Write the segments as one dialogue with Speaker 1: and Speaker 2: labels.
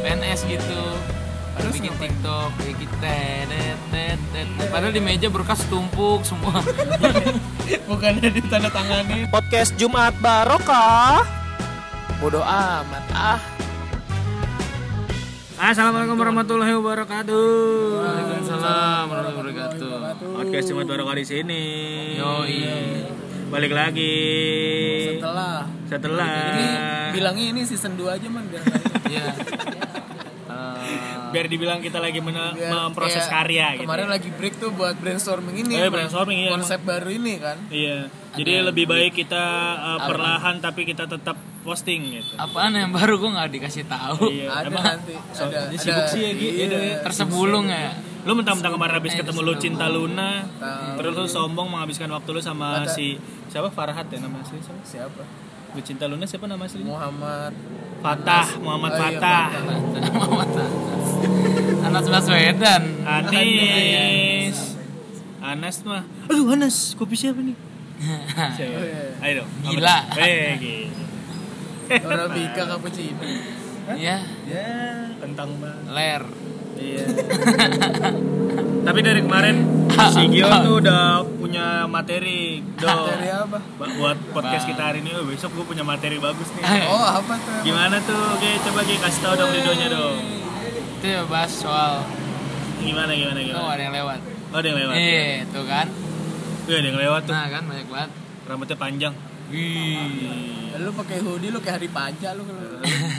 Speaker 1: SMS gitu Baru
Speaker 2: Terus
Speaker 1: bikin
Speaker 2: ngapain?
Speaker 1: TikTok kayak gitu tet, tet, tet, tet. Padahal di meja berkas tumpuk semua
Speaker 2: bukannya ditandatangani
Speaker 3: Podcast Jumat Barokah. Bodoh amat ah.
Speaker 1: Assalamualaikum warahmatullahi wabarakatuh Waalaikumsalam warahmatullahi wabarakatuh
Speaker 3: Podcast Jumat Barokah di sini.
Speaker 1: Yoi
Speaker 3: Balik lagi
Speaker 2: setelah
Speaker 3: setelah
Speaker 2: ini bilangnya ini season 2 aja man biar
Speaker 1: Iya
Speaker 3: biar dibilang kita lagi mena-
Speaker 2: biar
Speaker 3: memproses
Speaker 2: kayak
Speaker 3: karya gitu.
Speaker 2: kemarin lagi break tuh buat brainstorming ini
Speaker 3: Eh,
Speaker 2: man.
Speaker 3: brainstorming, iya,
Speaker 2: konsep baru ini kan
Speaker 3: Iya. Jadi lebih baik kita uh, perlahan tapi kita tetap posting gitu.
Speaker 1: Apaan yang baru gue nggak dikasih tahu
Speaker 3: Iya.
Speaker 2: ada
Speaker 3: Emang
Speaker 2: nanti ada
Speaker 3: dia
Speaker 2: ada
Speaker 3: sibuk sih ya, Gi. Iya, dia.
Speaker 1: Tersebulung ya
Speaker 3: lu mentang-mentang kemarin habis ketemu lu cinta
Speaker 2: Eh,
Speaker 3: Luna,
Speaker 2: Tahu.
Speaker 3: terus lu sombong menghabiskan waktu lu sama si siapa Farhat ya nama asli siapa?
Speaker 2: siapa
Speaker 3: Lu cinta Luna siapa nama aslinya?
Speaker 2: Muhammad
Speaker 3: Fatah, Muhammad
Speaker 2: Oh, iya,
Speaker 3: Fatah.
Speaker 1: Anas Baswedan
Speaker 3: Anis. Anas mah. Aduh Anas, kopi siapa nih? Siapa?
Speaker 2: Oh, iya.
Speaker 3: Ayo dong.
Speaker 1: Gila.
Speaker 3: Apa- Eh, gila.
Speaker 2: Arabica
Speaker 3: Oh.
Speaker 2: cappuccino
Speaker 1: Iya
Speaker 3: Ya, kentang banget.
Speaker 1: Ler
Speaker 3: Iya. Tapi dari kemarin si Gion tuh udah punya materi. Do.
Speaker 2: dari apa
Speaker 3: Ba- Buat podcast kita hari ini, oh, besok gue punya materi bagus nih.
Speaker 1: Itu
Speaker 2: oh apa tuh
Speaker 3: Gimana tuh? Oke, coba Gi kasih tau dong ridonya dong.
Speaker 1: ya bahas soal
Speaker 3: Gimana gimana
Speaker 1: Oh
Speaker 3: gimana?
Speaker 1: ada yang lewat
Speaker 3: Oh, ada yang Iya. lewat.
Speaker 1: Iya itu kan
Speaker 3: Wih, ada yang lewat tuh.
Speaker 1: Nah kan banyak banget
Speaker 3: Rambutnya panjang.
Speaker 1: Wih
Speaker 2: Ya, lu pakai hoodie lu kayak hari pajak lu kalau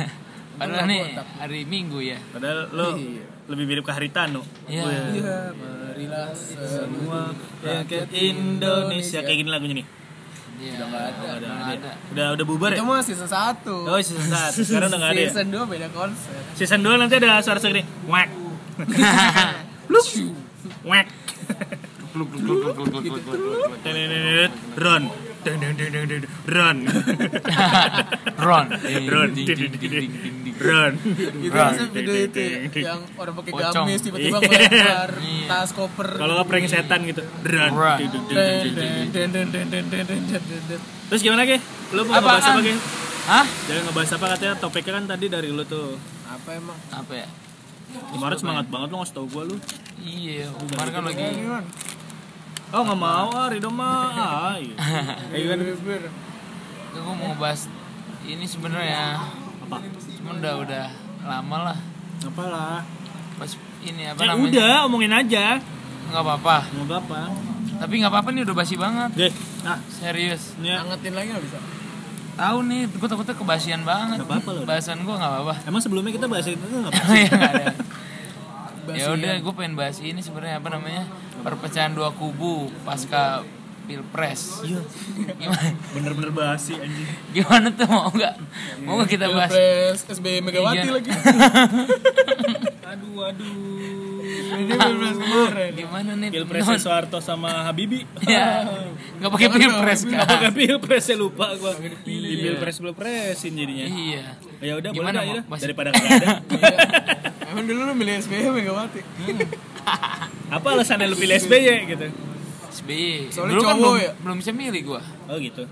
Speaker 1: Padahal nih hari Minggu ya
Speaker 3: Padahal lo
Speaker 2: Iya.
Speaker 3: lebih mirip ke Haritano.
Speaker 1: Iya.
Speaker 2: iya marilah semua
Speaker 3: Rakyat Indonesia kayak gini lagunya nih.
Speaker 1: Iya
Speaker 2: Udah nggak ada.
Speaker 1: udah
Speaker 3: Udah
Speaker 1: nggak ada
Speaker 3: Udah udah bubar ya?
Speaker 2: itu mah season 1
Speaker 3: Oh, season 1. Sekarang udah enggak ada ya?
Speaker 2: season 2 beda konsep
Speaker 3: Season 2 nanti ada suara-suara gini. Wek. Wek.
Speaker 1: Gluk, gluk, gluk, gluk, gluk, gluk, gluk, gluk, gluk.
Speaker 3: Dendendendendend, Run. Dendendendendend, Run.
Speaker 1: Ron
Speaker 3: Run.
Speaker 1: Ding, ding, ding, ding, ding, ding.
Speaker 3: Run.
Speaker 2: Gitu
Speaker 3: Run.
Speaker 2: sih video itu ya, yang orang pakai
Speaker 1: Pocong.
Speaker 2: gamis tiba-tiba
Speaker 3: Iya.
Speaker 2: ngelempar
Speaker 1: Iya.
Speaker 2: tas koper.
Speaker 3: Kalau nggak prank setan gitu. Run.
Speaker 1: Run.
Speaker 2: Den, den, den, den, den, den, den, den, den, den, den.
Speaker 3: Terus gimana, Ge? Lu mau ngebahas
Speaker 1: Apaan?
Speaker 3: apa, Ge?
Speaker 1: Hah?
Speaker 3: Jangan ngebahas apa katanya topiknya kan tadi dari lu tuh.
Speaker 2: Apa emang?
Speaker 1: Apa ya?
Speaker 3: Kemarin semangat banget lu ngasih tau gua lu.
Speaker 1: Iya, Umar kan lagi
Speaker 3: Oh nggak mau ah Rido mah ah iya. Kayak gitu.
Speaker 2: Bener.
Speaker 1: Gue Ya, mau bahas ini sebenarnya
Speaker 3: apa?
Speaker 1: Cuman udah udah lama lah
Speaker 3: Apalah.
Speaker 1: Pas ini apa
Speaker 3: Ya
Speaker 1: namanya
Speaker 3: udah omongin aja.
Speaker 1: Nggak apa-apa
Speaker 3: Mau apa?
Speaker 1: Tapi nggak apa-apa nih udah basi banget
Speaker 3: Deh. Nah,
Speaker 1: Serius
Speaker 3: ini ya.
Speaker 2: Angetin lagi nggak bisa?
Speaker 1: Tahu nih, gue takutnya kebasian banget
Speaker 3: Nggak apa-apa loh.
Speaker 1: Bahasan gue nggak apa-apa
Speaker 3: Emang sebelumnya kita bahas itu Oh, nggak apa?
Speaker 1: Iya, nggak ada.
Speaker 2: Basi kan.
Speaker 1: ya udah gue pengen bahas ini sebenarnya apa namanya perpecahan dua kubu pasca pilpres
Speaker 3: Iya.
Speaker 1: gimana
Speaker 3: Bener-bener basi anjing.
Speaker 1: gimana tuh mau nggak mau nggak kita bahas
Speaker 2: Pilpres SBY Megawati
Speaker 1: Iya.
Speaker 2: lagi.
Speaker 3: Aduh aduh.
Speaker 2: Ini pilpres kemarin.
Speaker 1: gimana nih
Speaker 3: Pilpres
Speaker 1: temen?
Speaker 3: Soeharto sama Habibi.
Speaker 1: ya nggak pakai pilpres kan
Speaker 3: Apa gak pilpresnya lupa gua. Di pilpres pilpresin jadinya.
Speaker 1: iya
Speaker 3: Ya udah boleh
Speaker 1: Gimana,
Speaker 3: dah, ya
Speaker 1: Mak?
Speaker 3: dah.
Speaker 1: Basi.
Speaker 3: daripada nggak ada.
Speaker 2: Emang dulu lu milih SBY Megawati. Hmm.
Speaker 3: Apa alasannya lu pilih SBY gitu?
Speaker 1: SBY
Speaker 2: Soalnya
Speaker 1: dulu kan
Speaker 2: cowok
Speaker 1: belum,
Speaker 2: ya.
Speaker 1: belum bisa milih gue
Speaker 3: Oh gitu.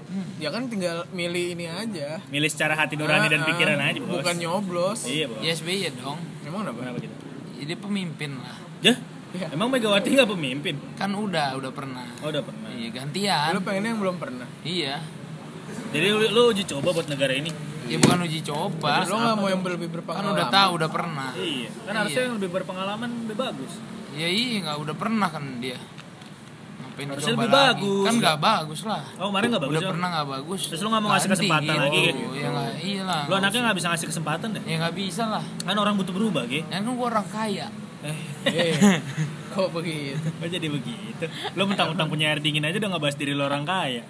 Speaker 2: Ya kan tinggal milih ini aja.
Speaker 3: Milih secara hati nurani dan
Speaker 2: Ah, ah.
Speaker 3: pikiran aja, Bos.
Speaker 2: Bukan nyoblos.
Speaker 3: Iya, Bos.
Speaker 1: ya SBY ya dong
Speaker 2: Emang kenapa?
Speaker 3: Kenapa gitu?
Speaker 1: jadi pemimpin lah
Speaker 3: Dah,
Speaker 2: Iya.
Speaker 3: emang Megawati nggak pemimpin?
Speaker 1: kan udah udah pernah
Speaker 3: Oh udah pernah.
Speaker 1: iya gantian
Speaker 2: Lu pengennya yang belum pernah.
Speaker 1: iya
Speaker 3: Jadi lu, lu uji coba buat negara ini.
Speaker 1: ya bukan uji coba
Speaker 2: Lu nggak mau yang lebih
Speaker 1: kan
Speaker 2: berpengalaman.
Speaker 1: udah tahu udah pernah
Speaker 3: Iya. Kan harusnya yang lebih berpengalaman lebih bagus.
Speaker 1: Ya iya nggak udah pernah kan dia. Ngapain
Speaker 3: Harusnya
Speaker 1: dicoba
Speaker 3: lebih
Speaker 1: lagi?
Speaker 3: bagus.
Speaker 1: Kan nggak bagus lah.
Speaker 3: Oh kemarin nggak bagus.
Speaker 1: udah
Speaker 3: ya?
Speaker 1: pernah nggak bagus.
Speaker 3: Terus lu nggak mau ngasih
Speaker 1: ganti
Speaker 3: kesempatan lagi, gitu?
Speaker 1: Ya nggak iya lah.
Speaker 3: Lu anaknya nggak bisa ngasih kesempatan deh.
Speaker 1: Ya nggak bisa lah.
Speaker 3: Kan orang butuh berubah, Ge.
Speaker 1: Dan kan gua orang kaya.
Speaker 2: Eh, Kok begitu?
Speaker 3: Kok jadi begitu? Lu mentang-mentang punya air dingin aja udah nggak bahas diri lu orang kaya.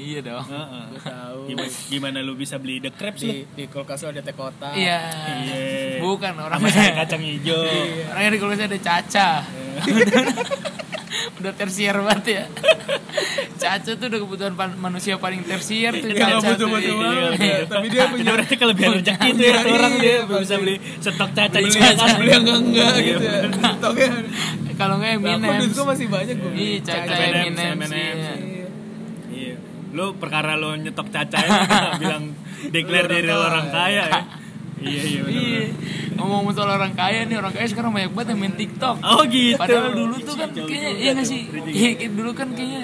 Speaker 1: Iya dong.
Speaker 3: Heeh.
Speaker 2: Gua tahu.
Speaker 3: Gimana, gimana lu bisa beli The Crepes
Speaker 2: Di,
Speaker 3: lu?
Speaker 2: di kulkas lu ada teh kotak.
Speaker 1: Iya.
Speaker 3: Iya.
Speaker 1: Bukan orang
Speaker 3: Sama sayur kacang hijau.
Speaker 1: Orang yang dikeluarkan ada caca. udah tersier banget ya. Caca tuh udah kebutuhan pan- manusia paling tersier tuh
Speaker 2: Dia nggak
Speaker 1: caca
Speaker 2: butuh
Speaker 1: tuh.
Speaker 2: butuh
Speaker 1: Iya.
Speaker 2: banget. Tapi dia
Speaker 3: Itu
Speaker 2: punya
Speaker 3: berarti kelebihan rezeki itu ya
Speaker 2: Iya,
Speaker 3: orang dia
Speaker 2: pasti.
Speaker 3: bisa beli stok caca di
Speaker 2: beli
Speaker 3: kulkas.
Speaker 2: beli yang enggak enggak
Speaker 3: Iya,
Speaker 2: gitu ya. Toknya.
Speaker 1: Kalau nggak
Speaker 2: Aku
Speaker 1: Eminem.
Speaker 2: duit gua masih banyak gua.
Speaker 1: Iya, caca
Speaker 3: Eminem,
Speaker 1: Eminem.
Speaker 3: Eminem.
Speaker 1: iya.
Speaker 2: Iya.
Speaker 3: Iya. Lu perkara lu nyetok caca ya, bilang declare
Speaker 2: Lu orang
Speaker 3: diri lu
Speaker 2: kaya.
Speaker 3: orang kaya ya. Iya, iya, benar,
Speaker 1: Iya. Ngomong soal orang kaya nih, orang kaya sekarang banyak banget yang main TikTok.
Speaker 3: Oh gitu.
Speaker 1: Padahal dulu tuh kan
Speaker 3: Jauh
Speaker 1: kayaknya
Speaker 2: gitu,
Speaker 3: juga
Speaker 1: iya nggak
Speaker 3: tuh.
Speaker 1: sih? Iya, kayak dulu kan kayaknya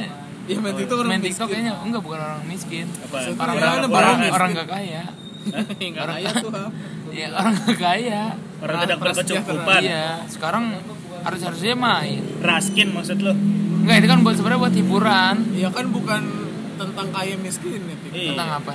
Speaker 2: Ya main TikTok orang
Speaker 1: main TikTok kayaknya enggak bukan orang miskin.
Speaker 3: Apa?
Speaker 1: Orang
Speaker 2: Iya,
Speaker 1: orang,
Speaker 2: orang
Speaker 1: orang,
Speaker 2: miskin.
Speaker 1: orang nggak kaya. Iya,
Speaker 2: Enggak kaya tuh apa?
Speaker 1: Ya orang nggak kaya.
Speaker 3: Orang tidak berkecukupan.
Speaker 1: Iya, sekarang harus harusnya main.
Speaker 3: Raskin maksud lo?
Speaker 1: Enggak, itu kan buat sebenarnya buat hiburan.
Speaker 2: Ya kan bukan tentang kaya miskin ya. Tik.
Speaker 3: Iya.
Speaker 1: Tentang apa?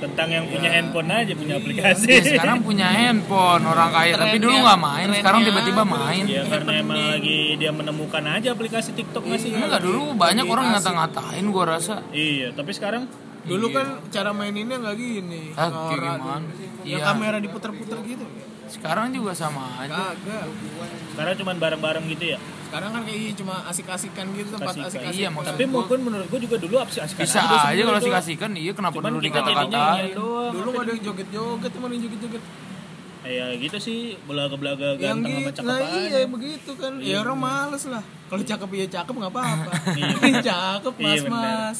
Speaker 3: Tentang yang punya
Speaker 2: Iya.
Speaker 3: handphone aja punya aplikasi.
Speaker 1: Ya, sekarang punya handphone orang kaya, tapi
Speaker 2: Trennya-
Speaker 1: dulu nggak main. Sekarang
Speaker 2: trennya Iya.
Speaker 1: tiba-tiba main.
Speaker 3: Ya karena emang lagi dia menemukan aja aplikasi TikTok masih.
Speaker 1: Enggak dulu banyak
Speaker 2: Lagi
Speaker 1: orang
Speaker 2: Iya, asik.
Speaker 1: ngata-ngatain gua rasa.
Speaker 3: Iya, tapi sekarang
Speaker 2: Dulu kan cara maininnya nggak gini.
Speaker 1: Ah,
Speaker 2: nggak
Speaker 1: kayak
Speaker 2: ora tuh.
Speaker 1: gimana?
Speaker 2: Yang
Speaker 1: Iya.
Speaker 2: kamera diputer-puter gitu.
Speaker 1: Sekarang juga sama aja.
Speaker 2: Kagak.
Speaker 3: sekarang cuman bareng-bareng gitu ya.
Speaker 2: Sekarang kan kayak cuma asik-asikan gitu tempat
Speaker 3: Asik-asikan.
Speaker 2: asik-asikan.
Speaker 1: Iya, maksud
Speaker 3: Tapi
Speaker 1: gua
Speaker 3: maupun menurut gua juga dulu apsi asik
Speaker 1: bisa aja kalau dikasihkan iya kenapa
Speaker 3: Kan Cuman
Speaker 1: dulu
Speaker 3: kita jadinya
Speaker 1: dikata-katain.
Speaker 3: iya doang.
Speaker 2: Dulu nggak ada yang joget-joget, cuma ada yang joget-joget.
Speaker 3: Ya gitu sih, belaga-belaga
Speaker 2: yang
Speaker 3: ganteng sama
Speaker 2: gitu
Speaker 3: cakep
Speaker 2: nah
Speaker 3: aja.
Speaker 2: iya begitu kan ya orang males lah kalau cakep ya cakep nggak apa-apa cakep
Speaker 3: Iya,
Speaker 2: mas
Speaker 3: bener.
Speaker 2: mas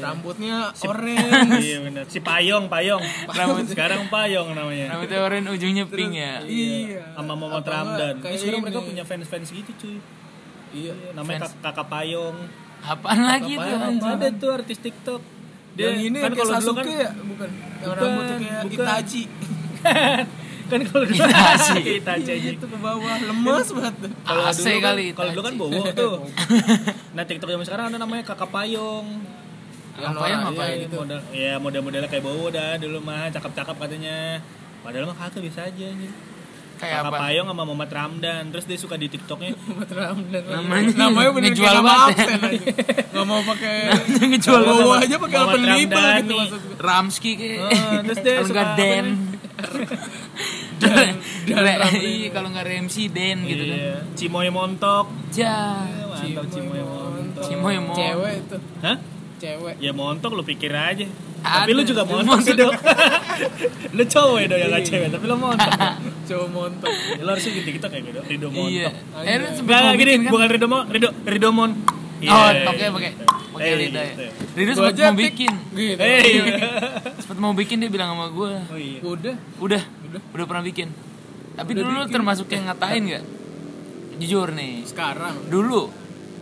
Speaker 2: rambutnya
Speaker 3: Iya
Speaker 2: orange
Speaker 3: benar. Si Payong, Payong.
Speaker 2: Rambut.
Speaker 3: sekarang Payong namanya.
Speaker 1: Rambutnya orange ujungnya pink ya.
Speaker 2: iya
Speaker 3: Sama Mama
Speaker 2: Apa nggak
Speaker 3: Ramdan.
Speaker 2: kayak
Speaker 3: Terus sekarang mereka
Speaker 2: ini.
Speaker 3: punya fans-fans gitu cuy.
Speaker 2: iya
Speaker 3: Namanya kak- kakak Payong.
Speaker 1: Apaan lagi tuh?
Speaker 3: Payong
Speaker 1: anjing?
Speaker 3: ada tuh artis TikTok.
Speaker 2: yang ini
Speaker 3: kan
Speaker 2: kayak
Speaker 3: kalau dulu
Speaker 2: Sasuke
Speaker 3: kan
Speaker 2: ya bukan yang rambutnya kayak
Speaker 3: bukan.
Speaker 2: Itachi
Speaker 3: kan kalau dulu
Speaker 2: Iya
Speaker 1: Itachi.
Speaker 3: Itachi aja. gitu.
Speaker 2: itu ke bawah lemes banget tuh.
Speaker 3: Kalau
Speaker 1: AC
Speaker 3: dulu kan,
Speaker 1: kali
Speaker 3: kalau dulu kan
Speaker 1: Itachi.
Speaker 3: bowo tuh. Nah TikTok zaman sekarang ada namanya kakak Payong.
Speaker 2: Yang
Speaker 1: Apa yang
Speaker 2: orang,
Speaker 1: apa
Speaker 2: iya,
Speaker 1: ya?
Speaker 2: gitu.
Speaker 3: Model, ya model-modelnya kayak bowo dah dulu mah cakep-cakep katanya. Padahal mah kakak biasa aja nih.
Speaker 1: Kayak
Speaker 3: Kakak
Speaker 1: apa?
Speaker 3: Payong sama Muhammad Ramdan terus dia suka di TikToknya
Speaker 2: Muhammad Ramdan
Speaker 1: Namanya-
Speaker 2: namanya bener
Speaker 1: ngejual
Speaker 2: kayak nama
Speaker 1: banget ya.
Speaker 2: absen aja. nggak mau pakai
Speaker 1: Ngejual
Speaker 2: bawa
Speaker 3: kan-
Speaker 1: banget.
Speaker 2: aja pakai
Speaker 3: Muhammad
Speaker 2: open label
Speaker 3: Ramdhani.
Speaker 2: gitu maksud gue.
Speaker 1: Ramski kayak.
Speaker 3: Eh, terus dia
Speaker 1: kalau nggak
Speaker 3: suka apa
Speaker 1: Den.
Speaker 3: nih?
Speaker 1: Dan, iya kalau nggak Ramsi Den gitu kan.
Speaker 3: Iya. Cimoy montok.
Speaker 1: Ja.
Speaker 3: Mantap Cimoy montok.
Speaker 1: Cimoy mau.
Speaker 2: cewek itu
Speaker 3: Hah?
Speaker 2: cewek
Speaker 3: Ya montok lu pikir aja.
Speaker 1: Ada.
Speaker 3: Tapi lu juga montok sih, Dok. lu cowok ya, Dok, yang gak cewek, tapi lu montok.
Speaker 2: cowok montok
Speaker 3: Ya, lu harusnya gitu-gitu kayak gue, Dok. Rido montok.
Speaker 1: Iya. Eh lu sebut
Speaker 3: Enggak,
Speaker 1: mau
Speaker 3: gini,
Speaker 1: bikin kan?
Speaker 3: bukan Rido Mon, Rido Iya. Rido Mon.
Speaker 1: Oh, toknya pakai pakai
Speaker 3: Eh,
Speaker 1: lidah ya.
Speaker 3: gitu ya.
Speaker 1: Rido
Speaker 2: Gua
Speaker 1: sempat
Speaker 2: aja
Speaker 1: mau
Speaker 2: pik-
Speaker 1: bikin.
Speaker 2: gitu
Speaker 3: Eh, iya.
Speaker 1: Sempat mau bikin dia bilang sama gue.
Speaker 3: Oh iya.
Speaker 2: udah
Speaker 1: Udah,
Speaker 2: Udah.
Speaker 1: udah, pernah bikin. Tapi dulu lu termasuk yang ngatain nggak? Jujur nih.
Speaker 2: sekarang
Speaker 1: Dulu.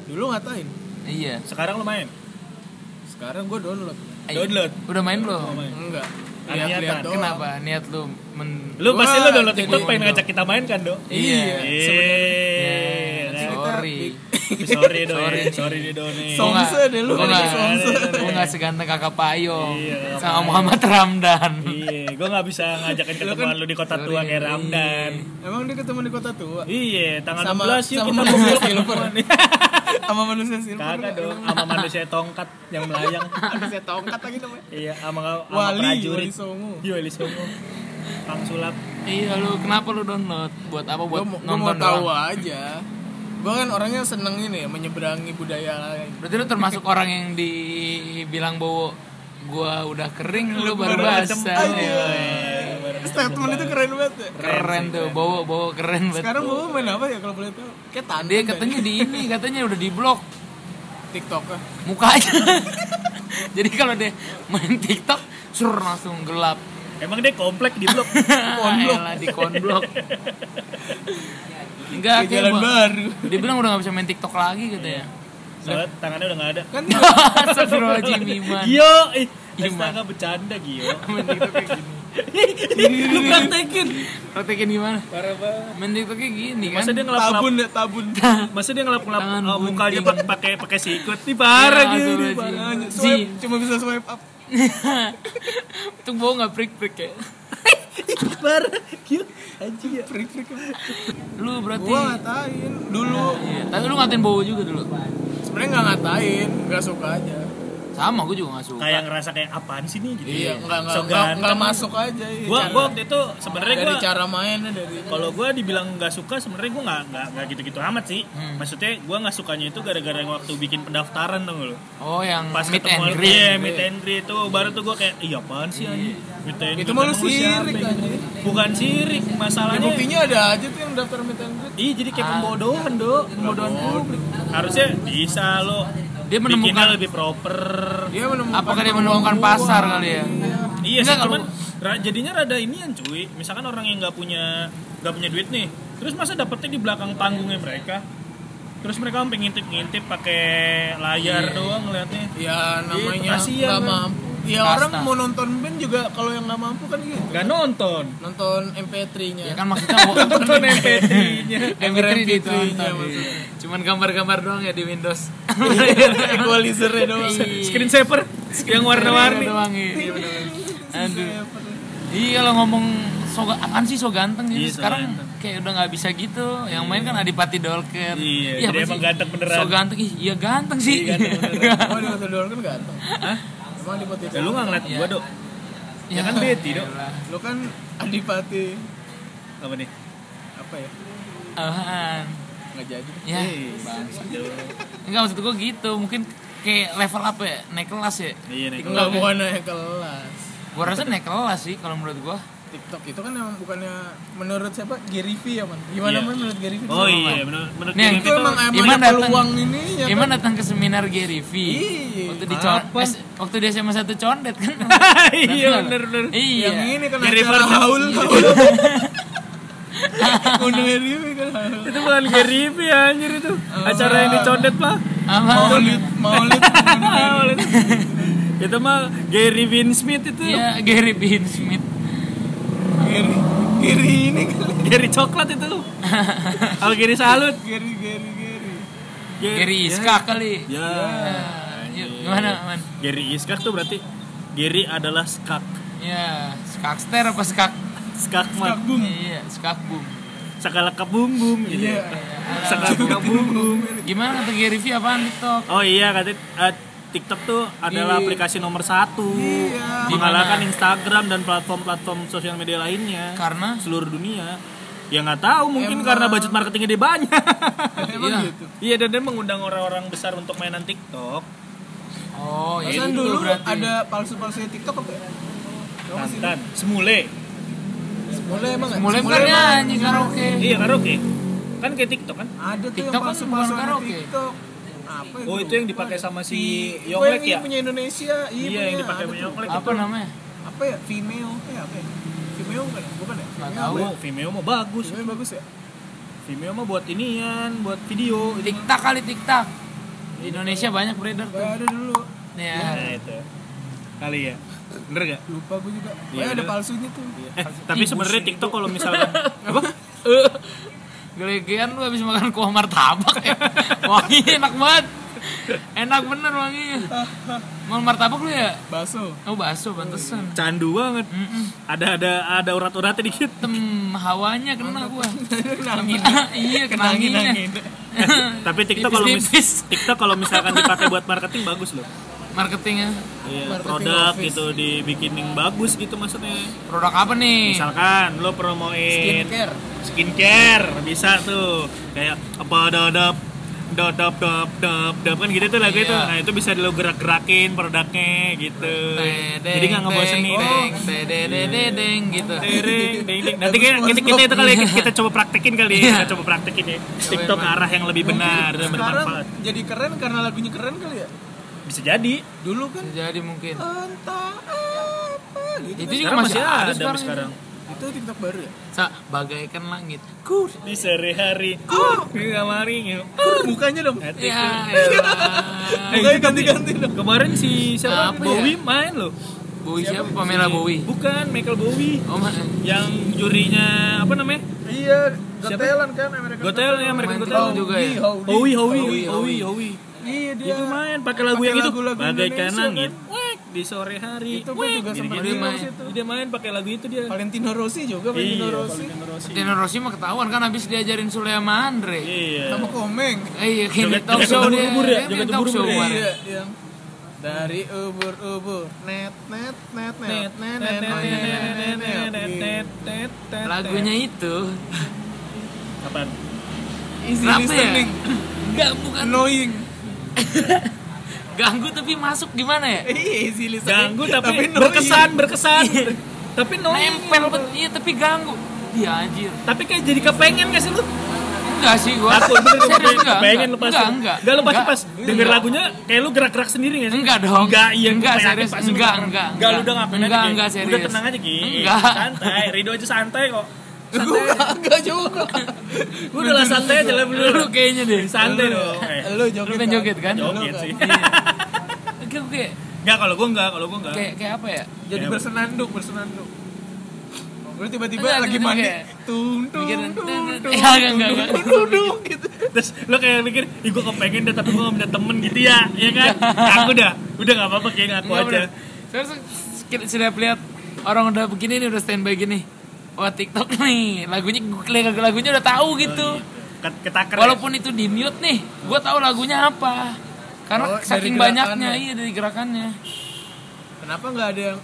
Speaker 2: dulu ngatain
Speaker 1: Iya.
Speaker 3: Sekarang lu main.
Speaker 2: sekarang gue download
Speaker 1: Ayo.
Speaker 3: Download.
Speaker 1: Udah main belum?
Speaker 3: Main.
Speaker 2: enggak
Speaker 3: Ada niatan.
Speaker 2: doang.
Speaker 1: Kenapa niat lu men
Speaker 3: Lu
Speaker 2: Gua
Speaker 3: pasti lu download
Speaker 2: jadi
Speaker 3: TikTok pengen
Speaker 2: mondok.
Speaker 3: ngajak kita main kan, Dok?
Speaker 2: iya
Speaker 1: Iya.
Speaker 3: Iya.
Speaker 1: Ya,
Speaker 2: kita-
Speaker 1: sorry.
Speaker 3: Sorry, Dok.
Speaker 1: Sorry.
Speaker 3: ya. Sorry, nih, Dok. nih.
Speaker 2: Song- Somse deh lu.
Speaker 1: Gua nggak-
Speaker 2: Somse.
Speaker 1: gua nggak seganteng kakak payung
Speaker 3: Iya,
Speaker 1: sama Muhammad Ramdan.
Speaker 3: Iya, gue gak bisa ngajakin ketemuan lu di kota tua kayak Ramdan.
Speaker 2: emang dia ketemu di kota tua
Speaker 3: Iya, tanggal
Speaker 2: Sama-
Speaker 3: 16 yuk
Speaker 2: sama
Speaker 3: kita
Speaker 2: manusia
Speaker 3: kumpul
Speaker 2: silver.
Speaker 3: ketemuan.
Speaker 2: sama manusia silver
Speaker 3: Kagak
Speaker 2: enggak?
Speaker 3: dong, sama manusia tongkat yang melayang.
Speaker 2: manusia tongkat lagi namanya
Speaker 3: Iya, sama sama
Speaker 2: wali wali
Speaker 3: prajurit.
Speaker 2: songo
Speaker 3: Iya, Wali Songo. Kang Sulap.
Speaker 1: Iya lu kenapa lu download? Buat apa
Speaker 2: gue
Speaker 1: buat
Speaker 2: mau gua mau
Speaker 1: nonton
Speaker 2: tahu
Speaker 1: doang?
Speaker 2: aja gue kan orangnya seneng ini ya menyeberangi budaya lain
Speaker 1: Berarti lu termasuk orang yang dibilang bahwa gua udah kering lu baru basah. Iya.
Speaker 3: Iya,
Speaker 2: statement itu keren banget ya.
Speaker 1: Keren tuh, bawa bawa keren banget.
Speaker 2: sekarang mau main apa ya kalau boleh tahu kayak tanda
Speaker 1: Dia katanya di ini, katanya udah di blok
Speaker 2: tiktok ya.
Speaker 1: mukanya. Jadi kalau dia main TikTok, sur langsung gelap.
Speaker 3: Emang dia komplek di blok.
Speaker 1: Konblok. di konblok. Enggak,
Speaker 2: di jalan
Speaker 1: kayak
Speaker 2: baru
Speaker 1: dia bilang udah gak bisa main TikTok lagi ya. katanya.
Speaker 3: Soalnya tangannya udah gak ada.
Speaker 2: kan
Speaker 1: Astagfirullahaladzim, Iman.
Speaker 3: Gio, ih.
Speaker 1: Gimana?
Speaker 3: Astaga bercanda Gio.
Speaker 1: Main TikTok kayak gini.
Speaker 2: lu praktekin
Speaker 1: Praktekin gimana?
Speaker 3: Parah banget.
Speaker 1: Main TikTok kayak gini kan.
Speaker 3: Masa dia ngelap-ngelap
Speaker 2: tabun ya tabun
Speaker 3: Masa dia ngelap-ngelap
Speaker 1: Tangan
Speaker 3: uh, mukanya
Speaker 1: bunting.
Speaker 3: pak- pakai pakai sikut nih parah
Speaker 1: Ya,
Speaker 3: gitu.
Speaker 1: aduh,
Speaker 3: parah.
Speaker 2: Makanya
Speaker 1: Zee.
Speaker 2: swipe, cuma bisa swipe up
Speaker 1: Itu bawa nggak prik-prik ya?
Speaker 3: Parah. Gio, anjing ya.
Speaker 2: prik prik
Speaker 1: Lu berarti
Speaker 2: gua ngatain dulu
Speaker 1: Iya, tapi lu ngatain Bowo juga dulu.
Speaker 2: sebenarnya nggak ngatain nggak suka aja
Speaker 1: Sama, gue juga gak suka.
Speaker 3: Kayak ngerasa kayak apaan sih nih gitu.
Speaker 2: iya nggak nggak
Speaker 3: So
Speaker 2: nggak
Speaker 3: ganteng.
Speaker 2: nggak masuk aja iya,
Speaker 3: Gua
Speaker 2: cara-
Speaker 3: gua waktu itu sebenarnya
Speaker 2: dari
Speaker 3: gua Iya.
Speaker 2: cara mainnya dari
Speaker 3: kalau gua dibilang nggak suka sebenarnya gua nggak nggak nggak gitu-gitu amat sih.
Speaker 2: Hmm.
Speaker 3: Maksudnya gua nggak sukanya itu gara-gara yang waktu bikin pendaftaran dong lo.
Speaker 1: Oh, yang
Speaker 3: Pas
Speaker 1: meet
Speaker 3: ketemu
Speaker 1: and
Speaker 3: lu-
Speaker 1: greet.
Speaker 3: iya, meet and greet itu baru tuh gua kayak iya apaan sih anjing. Meet and
Speaker 2: itu
Speaker 3: greet,
Speaker 2: malu
Speaker 3: emang lu siapa
Speaker 2: sirik
Speaker 3: gitu?
Speaker 2: aja
Speaker 3: Bukan sirik,
Speaker 2: ya,
Speaker 3: masalahnya
Speaker 2: buktinya ada aja tuh yang daftar meet and greet
Speaker 3: Iya jadi kayak pembodohan dok, pembodohan publik. Harusnya bisa lo
Speaker 1: Dia menemukan-
Speaker 3: bikinnya lebih proper.
Speaker 2: dia menemukan
Speaker 3: kan?
Speaker 1: Apakah dia menemukan pasar kali ya?
Speaker 3: Iya sih
Speaker 1: Enggak,
Speaker 3: cuman
Speaker 1: kalau-
Speaker 3: Ra- jadinya rada inian cuy. Misalkan orang yang nggak punya nggak punya duit nih, terus masa dapetnya di belakang panggungnya mereka. Terus mereka sampai ngintip-ngintip pakai layar doang ngeliatnya.
Speaker 2: ya namanya
Speaker 3: Iya, kasihan kan?
Speaker 2: nggak
Speaker 3: lah.
Speaker 2: mampu ya
Speaker 1: Kasta.
Speaker 2: orang mau nonton band juga kalau yang nggak mampu kan gitu
Speaker 3: Gak nonton.
Speaker 2: nonton MP3-nya
Speaker 3: Iya
Speaker 1: ya kan maksudnya wo-
Speaker 3: Nonton MP3-nya.
Speaker 1: MP3
Speaker 3: iya,
Speaker 2: MP3-nya
Speaker 1: ditonton
Speaker 2: maksudnya.
Speaker 1: gitu, cuman gambar-gambar doang ya di Windows
Speaker 3: Iya,
Speaker 2: equalizer-nya doang
Speaker 3: Screen saver yang warna-warni.
Speaker 1: doang iya bener-bener. aduh
Speaker 2: kan?
Speaker 1: iya lo ngomong so apaan sih so ganteng
Speaker 3: Iya,
Speaker 1: gitu
Speaker 3: so
Speaker 1: sekarang
Speaker 3: ganteng.
Speaker 1: kayak udah nggak bisa gitu yang main kan Adipati Dolken
Speaker 3: Iya,
Speaker 1: Iya,
Speaker 3: jadi
Speaker 1: apa
Speaker 3: emang
Speaker 1: sih?
Speaker 3: ganteng beneran.
Speaker 1: so ganteng ih iya ganteng sih
Speaker 3: Iya, ganteng beneran.
Speaker 2: Emang di Hotel Doang kan ganteng
Speaker 3: Hah?
Speaker 2: Emang di Hotel
Speaker 3: Ya lu nggak ngeliat gua dok. Ya kan
Speaker 1: Iya.
Speaker 3: Betty dok.
Speaker 1: iyalah.
Speaker 2: Lu kan adipati
Speaker 3: Apa nih?
Speaker 2: Apa ya?
Speaker 1: Apaan?
Speaker 2: Nggak jadi Iya.
Speaker 1: ya
Speaker 3: Eh,
Speaker 1: enggak maksud gue gitu mungkin kayak level apa ya naik kelas ya
Speaker 3: Iya nih.
Speaker 2: Nggak bukan naik kelas
Speaker 1: gue rasa naik kelas sih kalau menurut gue
Speaker 2: TikTok itu kan emang bukannya menurut siapa Gary V ya man gimana
Speaker 3: Iya.
Speaker 2: man menurut Gary V
Speaker 3: Oh iya, menurut menurut
Speaker 1: Nih,
Speaker 3: gua
Speaker 2: itu emang emang
Speaker 1: Iman
Speaker 2: ada
Speaker 1: datang.
Speaker 2: peluang ininya
Speaker 1: Iman datang ke seminar Gary V
Speaker 2: Iya.
Speaker 1: waktu di con-
Speaker 3: Iya, Apa?
Speaker 1: S- waktu di SMA satu condet kan
Speaker 3: iya
Speaker 1: Datang
Speaker 3: bener
Speaker 1: nggak?
Speaker 3: bener.
Speaker 1: iya
Speaker 2: yang ini kan
Speaker 3: Gary
Speaker 2: acara
Speaker 3: Vee.
Speaker 2: haul haul undang Gary V kan haul
Speaker 3: Itu bukan Gary V anjir itu. Acara yang dicondet lah.
Speaker 1: apa
Speaker 3: Oh, gitu.
Speaker 2: maulid maulid
Speaker 3: itu mah Gary Vin Smith itu.
Speaker 1: iya Gary Bean Smith
Speaker 2: Gary Gary ini kan kali
Speaker 3: Gary coklat itu. Kalau Gary salut.
Speaker 2: Gary Gary Gary
Speaker 1: Gary Iska kali
Speaker 3: Ya.
Speaker 1: Yuk, gimana man
Speaker 3: Gary Iskak tuh berarti Gary adalah skak.
Speaker 1: ya skakster apa skak
Speaker 3: Skak mah
Speaker 2: Kabung
Speaker 1: iya skak boom
Speaker 3: sekala kebum bum gitu.
Speaker 2: Iya.
Speaker 3: Sekala kebum
Speaker 1: gimana kata Gary V apaan TikTok
Speaker 3: Oh iya katanya eh, TikTok tuh adalah aplikasi nomor satu
Speaker 2: Iya.
Speaker 3: mengalahkan Instagram dan platform-platform sosial media lainnya
Speaker 1: karena
Speaker 3: seluruh dunia. Ya nggak tahu mungkin karena budget marketingnya dia banyak.
Speaker 2: emang
Speaker 1: Iya.
Speaker 2: gitu
Speaker 3: iya dan dia mengundang orang-orang besar untuk mainan TikTok.
Speaker 1: oh ya
Speaker 2: Perasaan
Speaker 1: itu
Speaker 2: dulu
Speaker 1: berarti
Speaker 2: ada palsu-palsunya TikTok apa ya? Tau nggak sih?
Speaker 3: Tantan, semule.
Speaker 2: Mulai emang nggak?
Speaker 1: mulai
Speaker 2: Semula
Speaker 1: bukan
Speaker 2: emang
Speaker 1: nyanyi karaoke
Speaker 3: Iya karaoke. Kan kayak TikTok kan?
Speaker 2: Ada tuh
Speaker 1: TikTok
Speaker 2: yang
Speaker 1: kan
Speaker 2: palsu-palsunya
Speaker 1: bukan karaoke.
Speaker 2: TikTok Apa ya?
Speaker 3: Oh
Speaker 2: gua
Speaker 3: itu yang
Speaker 2: lupa
Speaker 3: dipakai
Speaker 2: deh.
Speaker 3: sama si
Speaker 2: Di-
Speaker 3: Yonglek
Speaker 2: gua
Speaker 3: ya?
Speaker 2: yang punya Indonesia Iya
Speaker 3: Iya yang
Speaker 2: punya,
Speaker 3: dipakai
Speaker 2: ada
Speaker 3: sama
Speaker 2: tuh.
Speaker 3: Yonglek.
Speaker 1: apa namanya
Speaker 2: Apa ya? Vimeo Eh, apa ya? Vimeo bukan ya? Bukan ya?
Speaker 1: Nggak
Speaker 2: Vimeo
Speaker 1: tahu.
Speaker 2: apa ya?
Speaker 3: Oh, Vimeo mah bagus.
Speaker 2: Vimeo yang bagus ya?
Speaker 3: Vimeo mah buat inian, buat video.
Speaker 2: Iya.
Speaker 3: Itu.
Speaker 1: tiktak kali tiktak di Indonesia banyak beredar
Speaker 2: Gak
Speaker 1: tuh
Speaker 2: ada dulu
Speaker 1: Nih ya.
Speaker 3: Nah, itu. Kali ya. Bener gak?
Speaker 2: Lupa gue juga
Speaker 3: Iya,
Speaker 2: Pokoknya ada
Speaker 3: bener.
Speaker 2: palsunya tuh
Speaker 3: Eh, tapi sebenarnya TikTok kalau misalkan apa?
Speaker 1: Gelegean lu habis makan kuah martabak ya. Wanginya enak banget. Enak bener wanginya. Mau martabak lu ya?
Speaker 2: Baso
Speaker 1: Oh bakso pantesan.
Speaker 3: Candu banget.
Speaker 1: Mm-mm.
Speaker 3: Ada ada ada urat-uratnya dikit.
Speaker 1: Tem hawanya kena gua.
Speaker 2: Nangis
Speaker 1: Iya, iya kenanginya.
Speaker 2: Nangis
Speaker 3: Tapi TikTok kalau mis-
Speaker 1: Tipis-tipis.
Speaker 3: TikTok kalau misalkan dipakai buat marketing bagus loh.
Speaker 1: Marketingnya
Speaker 3: Iya,
Speaker 2: Marketing
Speaker 3: produk
Speaker 2: office. Iya.
Speaker 3: gitu dibikinin bagus gitu maksudnya.
Speaker 1: produk apa nih?
Speaker 3: Misalkan lo promoin
Speaker 2: Skincare
Speaker 3: skincare bisa tuh kayak apa dadap dadap dap dap dap kan gitu tuh lagu
Speaker 1: Iya.
Speaker 3: itu nah itu bisa lo gerak gerakin produknya gitu
Speaker 1: Tedeng,
Speaker 3: jadi nggak ngebosenin Oh.
Speaker 1: tedeng, tedeng, tedeng, gitu.
Speaker 3: Tereng, ding, ding. Nanti kita, kita, kita itu kali ya, kita, kita coba praktekin kali ya. Kita coba praktekin ya. TikTok ke arah yang lebih benar dan
Speaker 2: Sekarang
Speaker 3: bermanfaat.
Speaker 2: jadi keren karena lagunya keren kali ya?
Speaker 3: Bisa jadi.
Speaker 2: Dulu kan
Speaker 1: Jadi mungkin.
Speaker 2: entah apa gitu
Speaker 1: Itu
Speaker 2: kan.
Speaker 1: juga
Speaker 3: Sekarang
Speaker 1: masih ada sekarang.
Speaker 3: sekarang.
Speaker 2: itu TikTok baru ya
Speaker 1: Sa, bagaikan langit. Kur.
Speaker 3: Di sore hari. Ku di kamarinya.
Speaker 2: mukanya dong
Speaker 3: Iya,
Speaker 1: Ya, elah.
Speaker 2: mukanya ganti-ganti dong
Speaker 3: Kemarin si siapa?
Speaker 1: Apa ya?
Speaker 3: Bowie main loh.
Speaker 1: Bowie siapa? Pamela Bowie.
Speaker 3: Bukan Michael Bowie.
Speaker 1: Oh, ma-
Speaker 3: Yang jurinya apa namanya?
Speaker 2: iya Got
Speaker 3: Siapa?
Speaker 2: Talent kan American Got
Speaker 3: Gotel ya mereka
Speaker 1: Main
Speaker 3: Gotel.
Speaker 1: TikTok juga ya.
Speaker 3: Iya, Howie, Howie,
Speaker 1: Howie,
Speaker 3: Howie, Howie.
Speaker 2: iya dia
Speaker 3: Itu main pakai lagu
Speaker 2: Pakai
Speaker 3: yang itu.
Speaker 2: lagu-lagu
Speaker 3: Bagaikan
Speaker 2: Indonesia,
Speaker 3: langit.
Speaker 2: kan?
Speaker 3: Wek, di sore hari.
Speaker 2: itu gue
Speaker 3: Wek,
Speaker 2: juga sempat
Speaker 3: gini-gini.
Speaker 1: dia
Speaker 2: bingung
Speaker 1: main.
Speaker 2: situ
Speaker 3: Dia main pakai lagu itu dia.
Speaker 2: Valentino Rossi juga Valentino Rossi
Speaker 3: Iya, Valentino Rossi.
Speaker 1: Tino Rossi mah ketahuan kan habis diajarin Sule sama Andre.
Speaker 3: Iya.
Speaker 2: sama Komeng
Speaker 1: Eh, iya, kayak di
Speaker 3: Joget-
Speaker 1: talk
Speaker 3: joget
Speaker 1: show dia.
Speaker 3: ubur-ubur ya,
Speaker 1: Dia
Speaker 3: joget
Speaker 1: di talk show
Speaker 3: ubur-ubur ya.
Speaker 1: kemarin.
Speaker 2: iya yang dari ubur-ubur net net net net net net net net net
Speaker 1: Lagunya itu
Speaker 3: Kapan?
Speaker 2: easy
Speaker 1: Kenapa ya?
Speaker 2: listening
Speaker 1: Enggak bukan
Speaker 2: annoying
Speaker 1: ganggu tapi masuk gimana ya?
Speaker 2: Eh, easy listening
Speaker 3: Ganggu tapi,
Speaker 2: annoying.
Speaker 3: berkesan, berkesan.
Speaker 1: Iya.
Speaker 3: tapi no.
Speaker 1: Nempel bet- iya tapi iya, ganggu. Dia anjir.
Speaker 3: Tapi kayak jadi kepengen gak sih lu?
Speaker 1: enggak sih gua.
Speaker 3: Takut bener gue
Speaker 1: Serius enggak?
Speaker 3: pengen
Speaker 1: enggak.
Speaker 3: lepas.
Speaker 1: Enggak, enggak.
Speaker 3: Enggak lepas
Speaker 1: Enggak.
Speaker 3: pas denger lagunya kayak lu gerak-gerak sendiri gak sih?
Speaker 1: Enggak dong.
Speaker 3: Enggak, iya
Speaker 1: Enggak,
Speaker 3: gua yakin
Speaker 1: serius.
Speaker 3: pasti lu
Speaker 1: Enggak,
Speaker 3: gerak.
Speaker 1: enggak,
Speaker 3: Enggak, lu
Speaker 1: enggak.
Speaker 3: udah ngapain
Speaker 1: Enggak,
Speaker 3: aja, Ki?
Speaker 1: enggak,
Speaker 3: Udah
Speaker 1: serius.
Speaker 3: tenang aja, Ki.
Speaker 1: Enggak.
Speaker 3: Santai, Rido aja santai kok.
Speaker 2: Gue kagak juga.
Speaker 3: Gue udah lah santai aja lah
Speaker 1: Lu
Speaker 3: dulu.
Speaker 1: kayaknya deh.
Speaker 3: Santai dong. Eh,
Speaker 1: Lu
Speaker 2: Lu joget.
Speaker 1: kan joget kan?
Speaker 3: Joget sih.
Speaker 1: Kayak kayak
Speaker 3: Enggak kalau gue enggak, kalau gue enggak.
Speaker 1: kayak kayak apa ya?
Speaker 2: Jadi
Speaker 3: Kayak-
Speaker 2: bersenandung, bersenandung. Lu
Speaker 1: Enggak,
Speaker 2: tiba-tiba lagi
Speaker 1: tiba-tiba
Speaker 2: mandi,
Speaker 1: kayak-
Speaker 2: tung tung
Speaker 1: Mikir,
Speaker 2: tung tung
Speaker 1: tung, tung.
Speaker 2: tung
Speaker 1: Ya, enggak, enggak, enggak.
Speaker 2: tung, tung, tung, gitu.
Speaker 3: Terus lo kayak mikir, ih gue kepengen deh tapi gue gak punya temen gitu ya, ya kan? Aku dah, udah gak apa-apa kayak ngaku
Speaker 1: Enggak
Speaker 3: aja.
Speaker 1: bener. Terus sekir- sudah lihat orang udah begini nih udah standby gini. Wah TikTok nih lagunya lagunya udah tahu
Speaker 3: Oh,
Speaker 1: gitu.
Speaker 3: iya. Ket- Ketaker.
Speaker 1: Walaupun itu di mute nih, gue tahu lagunya apa. Karena
Speaker 2: Oh, dari
Speaker 1: saking banyaknya,
Speaker 2: gerakannya.
Speaker 1: iya dari gerakannya.
Speaker 2: Kenapa nggak ada yang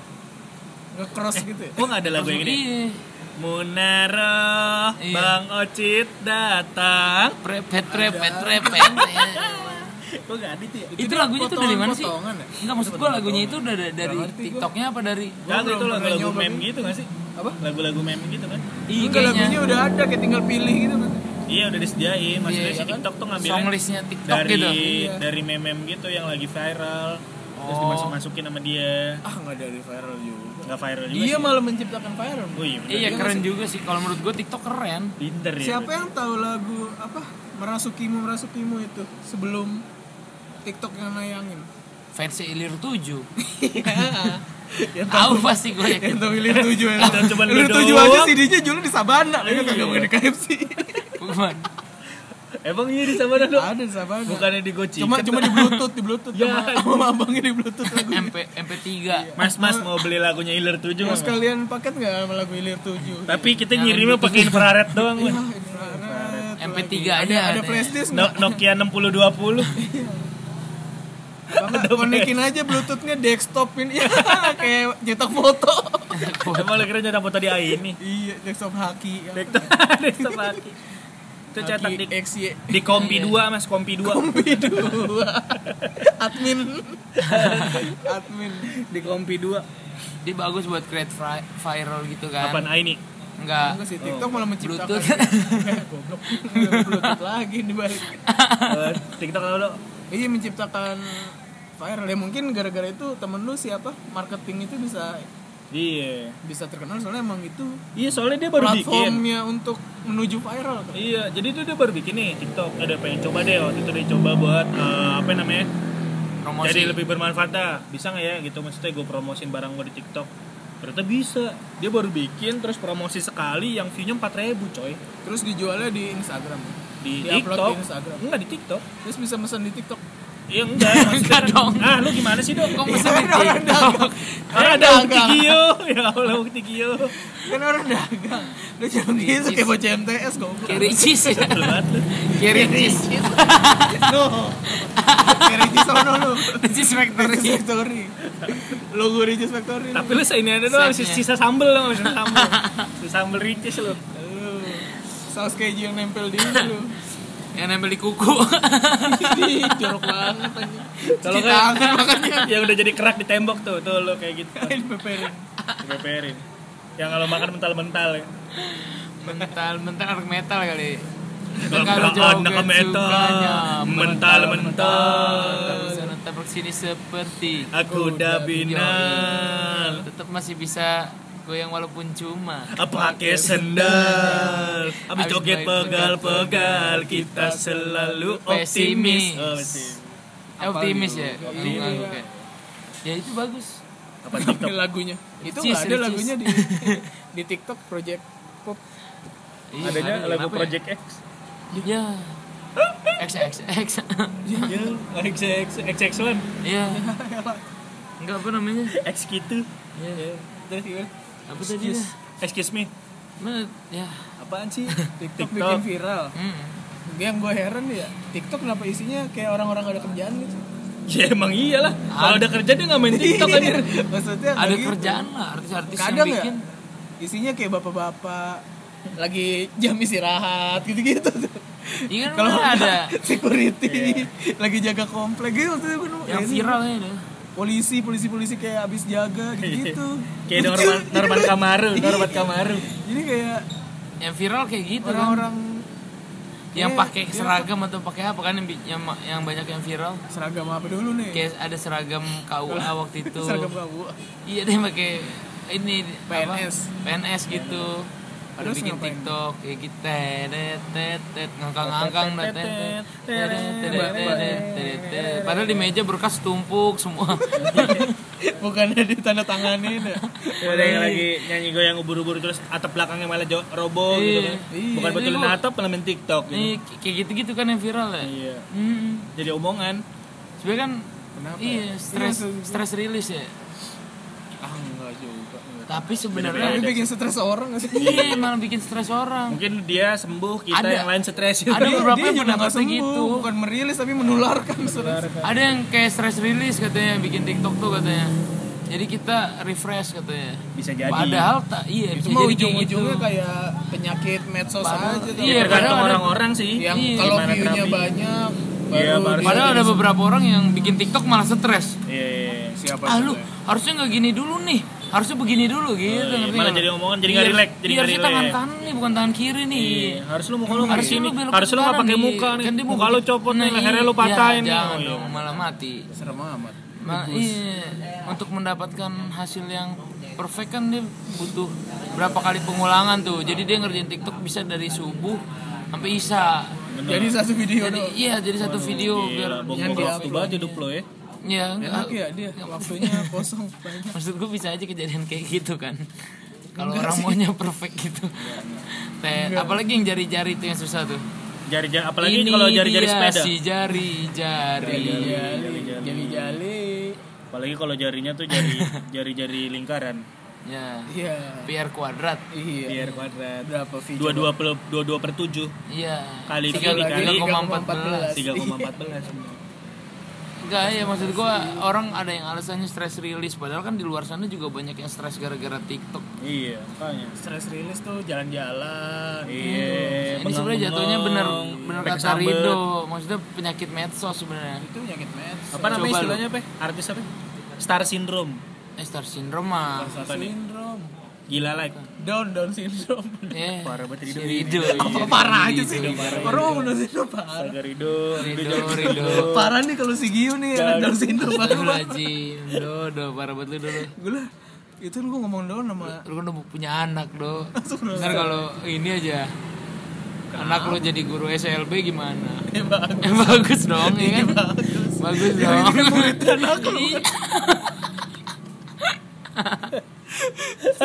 Speaker 2: nge-cross gitu ya?
Speaker 3: Gue gak ada lagu yang ini.
Speaker 1: Iya.
Speaker 3: Munara,
Speaker 1: Iya.
Speaker 3: Bang Ocit datang.
Speaker 1: Prepet, prepet, prepet.
Speaker 3: Gue gak ada itu ya.
Speaker 1: itu lagunya tuh dari mana sih?
Speaker 2: potongan-potongan ya?
Speaker 1: Enggak maksud gue lagunya itu udah da- dari
Speaker 2: Nggak ngerti gua.
Speaker 1: TikToknya apa dari
Speaker 2: Gua
Speaker 3: Kan itu
Speaker 2: belum pernah
Speaker 3: lagu-lagu
Speaker 2: nyoba
Speaker 3: meme
Speaker 2: gitu.
Speaker 3: gitu gak sih?
Speaker 2: Apa?
Speaker 3: Lagu-lagu meme gitu kan?
Speaker 1: Iya,
Speaker 2: Enggak, lagunya
Speaker 1: IG-nya?
Speaker 2: udah ada, kayak tinggal pilih gitu kan.
Speaker 3: Iya udah disediain, maksudnya
Speaker 1: Iya,
Speaker 3: si
Speaker 1: kan?
Speaker 3: TikTok tuh
Speaker 1: Song
Speaker 3: ngambilnya
Speaker 1: listnya TikTok
Speaker 3: dari
Speaker 1: gitu.
Speaker 2: Iya.
Speaker 3: dari meme-meme gitu yang lagi viral. Terus
Speaker 1: Oh.
Speaker 3: dimasuk-masukin sama dia.
Speaker 2: Ah, nggak ada di viral juga.
Speaker 3: Gak viral juga
Speaker 2: Dia
Speaker 3: sih.
Speaker 2: malah menciptakan viral.
Speaker 3: Oh iya bener.
Speaker 1: Iya
Speaker 2: Iya,
Speaker 1: keren
Speaker 2: masih-
Speaker 1: juga sih kalau menurut gue TikTok keren.
Speaker 3: Pinter ya.
Speaker 2: Siapa yang tahu lagu apa Merasukimu Merasukimu itu sebelum TikTok yang nayangin?
Speaker 1: Versi Ilir 7.
Speaker 2: ya
Speaker 1: Tahu pasti gue
Speaker 2: Yang
Speaker 1: yakin.
Speaker 2: tahu Ilir tujuh ya.
Speaker 3: Dan cuman lu
Speaker 2: Ilir tujuh aja
Speaker 3: doang.
Speaker 2: CD-nya jualnya di Sabana, dia kagak bukan di KFC.
Speaker 1: Bukan.
Speaker 3: Emang iya di Sabana lo?
Speaker 2: Ada di Sabana.
Speaker 3: Bukannya di Gojek.
Speaker 2: Cuma cuma di Bluetooth, di Bluetooth
Speaker 3: Ya.
Speaker 2: sama, sama abangnya di Bluetooth lagunya.
Speaker 1: MP MP3.
Speaker 3: Mas Mas mau beli lagunya Iler 7
Speaker 1: Iya,
Speaker 2: Mau
Speaker 3: Mas.
Speaker 2: sekalian paket nggak sama lagu Ilir tujuh?
Speaker 3: Tapi kita ngirimnya
Speaker 1: gitu
Speaker 3: pakai infrared doang
Speaker 1: Iya,
Speaker 3: Mas.
Speaker 2: Ah, infrared
Speaker 1: MP3
Speaker 2: lagi.
Speaker 1: aja
Speaker 2: Ada, ada
Speaker 1: ada.
Speaker 2: flash disk
Speaker 3: No-
Speaker 2: nggak?
Speaker 3: Nokia 6020
Speaker 2: Apa nggak? Konekin aja Bluetooth-nya desktopin. Ya, kayak nyetak foto.
Speaker 3: Emang lo kira nyetak foto di AI ini
Speaker 2: Iya, desktop haki.
Speaker 3: Dektor Desktop laki Itu cetak di,
Speaker 2: XY.
Speaker 3: di kompi 2 mas Kompi 2
Speaker 2: Iya. Kompi dua. Admin. Admin.
Speaker 3: Di kompi 2
Speaker 1: Dia bagus buat create fri- viral gitu
Speaker 3: Apaan
Speaker 1: kan.
Speaker 3: AI nih?
Speaker 1: Enggak.
Speaker 2: Enggak sih TikTok malah menciptakan.
Speaker 1: Oh,
Speaker 2: eh,
Speaker 1: Bluetooth.
Speaker 2: Goblok. Bluetooth lagi dibalik.
Speaker 3: Eh, TikTok lo
Speaker 2: Iya menciptakan viral ya mungkin gara-gara itu temen lu siapa marketing itu bisa
Speaker 3: Iya
Speaker 2: bisa terkenal soalnya emang itu
Speaker 3: Iya soalnya dia baru bikin
Speaker 2: platformnya untuk menuju viral kan.
Speaker 3: Iya, jadi itu dia baru bikin nih TikTok. Ada pengen coba deh waktu itu dia coba buat eh, apa namanya?
Speaker 1: Promosi.
Speaker 3: Jadi lebih bermanfaat dah. Bisa nggak ya gitu? Maksudnya gue promosin barang gue di TikTok. Ternyata bisa. Dia baru bikin terus promosi sekali yang view-nya 4000 coy
Speaker 2: Terus dijualnya di Instagram.
Speaker 3: di
Speaker 2: Di-upload
Speaker 3: TikTok.
Speaker 2: di Instagram.
Speaker 3: Enggak di TikTok.
Speaker 2: Terus bisa pesan di TikTok.
Speaker 3: Iya enggak. maksudnya
Speaker 1: Enggak
Speaker 3: kan-
Speaker 1: dong.
Speaker 3: Ah, lu gimana sih, Dok?
Speaker 1: Kok
Speaker 3: Kok
Speaker 1: mesti di TikTok?
Speaker 3: ada
Speaker 2: Iya. Enggak,
Speaker 3: bukti
Speaker 2: enggak.
Speaker 3: Gio. Ya Allah bukti Gio.
Speaker 2: Kan orang dagang. Lu jangan gitu kayak bocah MTS goblok.
Speaker 1: Kiri cheese ya.
Speaker 3: Sebel banget lu.
Speaker 1: Kiri cheese.
Speaker 2: No. Kayak Regis sono lu.
Speaker 1: Cheese
Speaker 2: Regis
Speaker 1: factory.
Speaker 2: Factory. Logo Regis Factory.
Speaker 3: Tapi lu seiniannya doang
Speaker 1: Setnya.
Speaker 3: sisa sambel dong, sisa sambel. Sisa sambel ricis lu.
Speaker 2: Lu, Saus keju yang nempel di ini lu.
Speaker 1: Yang nempel di kuku.
Speaker 2: Ih, jorok banget aja.
Speaker 3: Kalau
Speaker 2: Cuci
Speaker 3: nggak-
Speaker 2: tangan makanya.
Speaker 3: yang udah jadi kerak di tembok tuh tuh lo kayak gitu
Speaker 2: Kain peperin.
Speaker 3: dipeperin yang kalau makan mental-mental ya
Speaker 1: mental mental anak metal kali.
Speaker 3: anak mental mental-mental
Speaker 1: Kalau sana tabrak sini seperti
Speaker 3: aku udah binal
Speaker 1: tetap masih bisa goyang walaupun cuma.
Speaker 3: pakai sendal abis
Speaker 1: Abis main
Speaker 3: joget pegal-pegal kita selalu
Speaker 1: Pesimis.
Speaker 3: optimis Oh, optimis.
Speaker 1: Eh, optimis ya.
Speaker 2: Optimis.
Speaker 1: Bukan, bukan. Ya itu bagus.
Speaker 3: apa TikTok
Speaker 2: lagunya. Itu
Speaker 1: Cheese,
Speaker 2: nggak ada
Speaker 1: Regis.
Speaker 2: lagunya di di TikTok Project Pop.
Speaker 1: Iya,
Speaker 3: adanya
Speaker 1: ada.
Speaker 3: lagu
Speaker 1: Kenapa ya?
Speaker 3: Project X
Speaker 1: Ya. X X X.
Speaker 3: ya X X X excellent
Speaker 1: Iya. Enggak apa namanya?
Speaker 3: X gitu
Speaker 1: Iya.
Speaker 2: Terus gimana?
Speaker 1: Apa tadi? ya?
Speaker 3: excuse me
Speaker 1: Mana ya?
Speaker 2: Apaan sih? TikTok,
Speaker 3: TikTok.
Speaker 2: bikin viral.
Speaker 1: Mm.
Speaker 2: Yang gue heran ya, TikTok kenapa isinya kayak orang-orang gak ada kerjaan gitu.
Speaker 3: ya emang iyalah kalau udah kerja dia nggak main TikTok kan, anjir
Speaker 2: Maksudnya
Speaker 1: Ada
Speaker 2: lagi
Speaker 1: kerjaan lah artis-artis yang
Speaker 2: Kadang ya
Speaker 1: bikin.
Speaker 2: isinya kayak bapak-bapak lagi jam istirahat gitu-gitu tuh.
Speaker 1: Iya kan
Speaker 2: Kalau
Speaker 1: mana ada
Speaker 2: security lagi jaga komplek gitu tuh kan.
Speaker 1: yang
Speaker 2: Ya, sih.
Speaker 1: viral ini. ada.
Speaker 2: Polisi, polisi-polisi kayak abis jaga gitu-gitu.
Speaker 1: Iya.
Speaker 3: kayak
Speaker 2: Lucu.
Speaker 3: Norman Norman Kamaru Norman Kamaru
Speaker 2: Jadi kayak
Speaker 1: Yang viral kayak gitu kan.
Speaker 2: orang-orang
Speaker 1: yang
Speaker 2: Iya,
Speaker 1: pakai
Speaker 2: iya.
Speaker 1: seragam atau pakai apa kan yang, bi- yang ma- yang banyak yang viral
Speaker 2: seragam apa dulu nih
Speaker 1: kayak ada seragam KUA waktu itu
Speaker 2: seragam kamu
Speaker 1: iya deh pakai ini apa?
Speaker 2: PNS.
Speaker 1: PNS gitu ada
Speaker 2: Terus
Speaker 1: bikin
Speaker 2: ngapain?
Speaker 1: TikTok kayak gitu tet tet tet ngangkang ngangkang dah tet tet, tet, tet, tet,
Speaker 2: Mbak-
Speaker 1: tet,
Speaker 2: Mbak.
Speaker 1: tet, tet, tet. padahal di meja berkas tumpuk semua
Speaker 2: Iya. bukannya ditanda tanganin ya
Speaker 3: Ada yang lagi nyanyi goyang ubur-ubur terus atap belakangnya malah jo- roboh gitu kan.
Speaker 2: Iya.
Speaker 3: Bukan
Speaker 1: Iya,
Speaker 3: betulin
Speaker 1: iya.
Speaker 3: atap, pelamin TikTok gitu.
Speaker 1: Ini k- kayak gitu gitu kan yang viral ya
Speaker 3: Iya.
Speaker 1: Mm-mm.
Speaker 3: Jadi omongan.
Speaker 1: sebenarnya kan
Speaker 2: Kenapa
Speaker 1: iya
Speaker 2: ya?
Speaker 1: stres
Speaker 2: Iya, tuh.
Speaker 1: stres rilis ya
Speaker 2: ah enggak juga enggak.
Speaker 1: tapi
Speaker 2: tapi
Speaker 1: sebenarnya
Speaker 3: Beda-beda.
Speaker 2: bikin stres orang nggak sih
Speaker 1: iya malah bikin stres orang
Speaker 3: Mungkin dia sembuh, kita
Speaker 1: Ada.
Speaker 3: yang lain stres.
Speaker 1: Ada
Speaker 2: Dia-
Speaker 1: beberapa
Speaker 2: dia
Speaker 1: yang
Speaker 2: juga
Speaker 1: pendapatnya
Speaker 2: nggak sembuh,
Speaker 1: gitu.
Speaker 2: bukan merilis tapi menularkan stres
Speaker 1: ada yang kayak stress release katanya bikin TikTok tuh katanya jadi kita refresh katanya
Speaker 3: Bisa jadi.
Speaker 1: padahal tak iya
Speaker 2: itu
Speaker 1: bisa
Speaker 2: mah
Speaker 1: jadi kayak gitu
Speaker 2: ujung-ujungnya kayak penyakit medsos
Speaker 1: Padahal-
Speaker 2: aja tuh
Speaker 3: Iya,
Speaker 1: Iya,
Speaker 3: tergantung
Speaker 1: padahal ada-
Speaker 3: orang-orang sih.
Speaker 2: yang
Speaker 1: Iya.
Speaker 2: kalau
Speaker 3: Gimana
Speaker 2: view-nya
Speaker 3: terapi.
Speaker 2: banyak
Speaker 3: Iya,
Speaker 2: baru
Speaker 3: baru-
Speaker 2: dia-
Speaker 1: kan. padahal ada beberapa orang yang bikin TikTok malah stres
Speaker 3: Iya, iya, iya.
Speaker 2: siapa
Speaker 1: ah lu
Speaker 2: tuh ya?
Speaker 1: harusnya nggak gini dulu nih harusnya begini dulu gitu
Speaker 3: Oh, iya.
Speaker 1: ngerti
Speaker 3: Malah
Speaker 1: nggak?
Speaker 3: jadi omongan, jadi nggak
Speaker 1: Iya,
Speaker 3: relax, jadi
Speaker 1: iya,
Speaker 3: nggak
Speaker 1: harusnya
Speaker 3: relax.
Speaker 1: tangan kanan nih bukan tangan kiri nih
Speaker 3: Iya, harus lu muka lu harus
Speaker 1: Harusnya
Speaker 3: ini.
Speaker 1: belok ke
Speaker 3: Harus lu nggak
Speaker 1: kanan
Speaker 3: pakai
Speaker 1: nih.
Speaker 3: muka nih.
Speaker 1: Kan dia mau
Speaker 3: Muka lu
Speaker 1: bikin-
Speaker 3: copot nih,
Speaker 1: Nah,
Speaker 3: lehernya lu
Speaker 1: iya,
Speaker 3: patahin.
Speaker 1: jangan
Speaker 3: Oh, iya.
Speaker 1: dong malah mati
Speaker 2: serem amat
Speaker 1: Ma- iya, untuk mendapatkan hasil yang perfect kan dia butuh berapa kali pengulangan tuh. Jadi dia ngerjain TikTok bisa dari subuh sampai isya.
Speaker 2: jadi satu video
Speaker 1: Jadi
Speaker 2: doang
Speaker 1: iya, jadi satu video biar
Speaker 3: Gila,
Speaker 2: Yang
Speaker 3: bongkok waktu
Speaker 2: di-upload.
Speaker 3: banget hidup lo ya.
Speaker 1: ya
Speaker 2: enak
Speaker 1: enggak.
Speaker 2: ya dia waktunya kosong banyak
Speaker 1: Maksud gue bisa aja kejadian kayak gitu kan. Kalau orang maunya perfect gitu. Teh, apalagi yang jari-jari itu yang susah tuh.
Speaker 3: Jari-jari apalagi
Speaker 1: Ini
Speaker 3: kalau jari-jari
Speaker 1: dia
Speaker 3: sepeda.
Speaker 1: Si jari-jari.
Speaker 2: Iya, jali jali
Speaker 3: Apalagi kalau jarinya tuh jari jari-jari lingkaran.
Speaker 1: Ya.
Speaker 2: iya
Speaker 1: PR kuadrat.
Speaker 2: iya
Speaker 3: Biar kuadrat.
Speaker 2: berapa video
Speaker 3: dua dua per dua dua per tujuh
Speaker 1: Iya.
Speaker 3: Kali
Speaker 1: Tiga-
Speaker 2: kan?
Speaker 3: tiga dikali
Speaker 1: 3,14.
Speaker 3: tiga koma empat belas
Speaker 1: Enggak ya maksud gua orang ada yang alasannya stress release padahal kan di luar sana juga banyak yang stres gara-gara TikTok.
Speaker 3: iya makanya
Speaker 2: stress rilis tuh jalan-jalan
Speaker 3: iya
Speaker 1: Ini sebenarnya jatuhnya bener bener
Speaker 3: Pakai
Speaker 1: kata
Speaker 3: sambel.
Speaker 1: Rido, maksudnya penyakit medsos sebenarnya.
Speaker 2: itu penyakit medsos
Speaker 3: apa namanya
Speaker 1: Coba lu.
Speaker 3: istilahnya apa artis apa star syndrome
Speaker 1: Eh star syndrome mah.
Speaker 2: sindrom
Speaker 3: gila like
Speaker 2: down down syndrome
Speaker 1: Ya.
Speaker 3: Parah banget
Speaker 1: si
Speaker 3: Rido
Speaker 1: Rido.
Speaker 2: apa
Speaker 1: iya.
Speaker 2: parah aja Ah, sih orang mau down syndrome parah
Speaker 3: Astaga Rido
Speaker 1: Rido, Rido.
Speaker 2: parah nih kalau si Gio nih anak down syndrome
Speaker 1: Aduh
Speaker 2: parah
Speaker 1: lagi, dodo parah banget lu dulu.
Speaker 2: gue lah itu lu ngomong down sama
Speaker 1: Lu kan udah punya anak, Do.
Speaker 2: Langsung down.
Speaker 1: Ntar kalau ini aja anak lu jadi guru SLB gimana?
Speaker 2: Eh, bagus Iya,
Speaker 1: Eh, bagus dong, ya kan?
Speaker 2: bagus
Speaker 1: Bagus dong. Iya.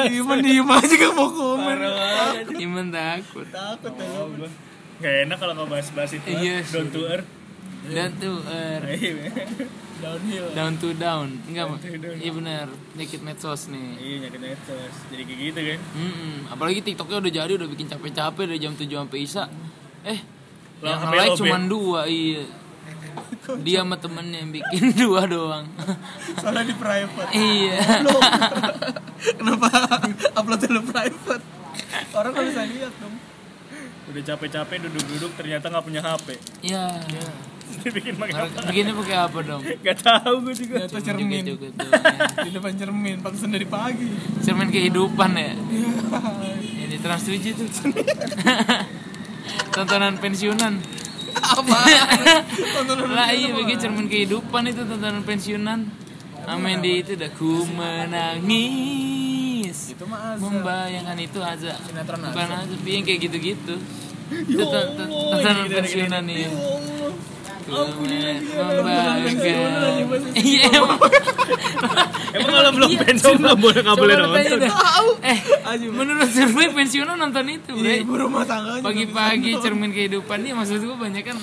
Speaker 2: Diem diem aja gak mau komen
Speaker 1: Iman takut.
Speaker 2: takut ya gua.
Speaker 3: Gak enak kalau ngebahas-bahas itu er.
Speaker 1: Iya
Speaker 3: yes.
Speaker 1: sih.
Speaker 3: Down to earth
Speaker 1: Down to earth,
Speaker 2: downhill
Speaker 1: down to down. Enggak, Mak. Iya benar. Penyakit medsos nih.
Speaker 3: Iya nyakit netos Jadi kayak gitu kan
Speaker 1: Mm-mm. Apalagi TikToknya udah jadi, udah bikin capek-capek dari jam 7 sampai isya. Eh,
Speaker 3: Lah,
Speaker 1: yang
Speaker 3: sampai
Speaker 1: like
Speaker 3: lobby.
Speaker 1: cuma dua, iya. Dia sama temennya yang bikin dua doang.
Speaker 2: soalnya di private
Speaker 1: iya.
Speaker 2: Lu, kenapa upload dulu private orang gak bisa lihat dong
Speaker 3: Udah capek-capek duduk-duduk ternyata gak punya HP
Speaker 1: Iya.
Speaker 3: Dibikin pakai apa
Speaker 1: Begini pakai apa dong?
Speaker 3: Gak tau gue juga
Speaker 2: ternyata cermin
Speaker 1: Joget-joget doang.
Speaker 2: di depan cermin pantesan dari pagi
Speaker 1: Cermin kehidupan ya.
Speaker 2: Iya.
Speaker 1: Ini Trans 7 tuh. Tontonan pensiunan.
Speaker 2: apa tontonan
Speaker 1: lah iya bagi cermin kehidupan itu tontonan pensiunan Amin di itu dah ku menangis
Speaker 2: itu mah azab
Speaker 1: Membayangkan itu aja
Speaker 2: Sinetron azab.
Speaker 1: Bukan aja, tapi yang kayak gitu-gitu Itu ton- ton- tontonan pensiunan iya. nih
Speaker 2: Oh,
Speaker 1: Membayangkan Iya emang
Speaker 3: Emang kalau belum pensiun belum boleh gak boleh
Speaker 1: Coba lu tanya
Speaker 3: nonton
Speaker 1: dah. Eh menurut survei pensiunan nonton itu
Speaker 2: Iya,
Speaker 1: bre
Speaker 2: ibu rumah tangganya
Speaker 1: Pagi-pagi cermin kehidupan nih maksud gue banyak kan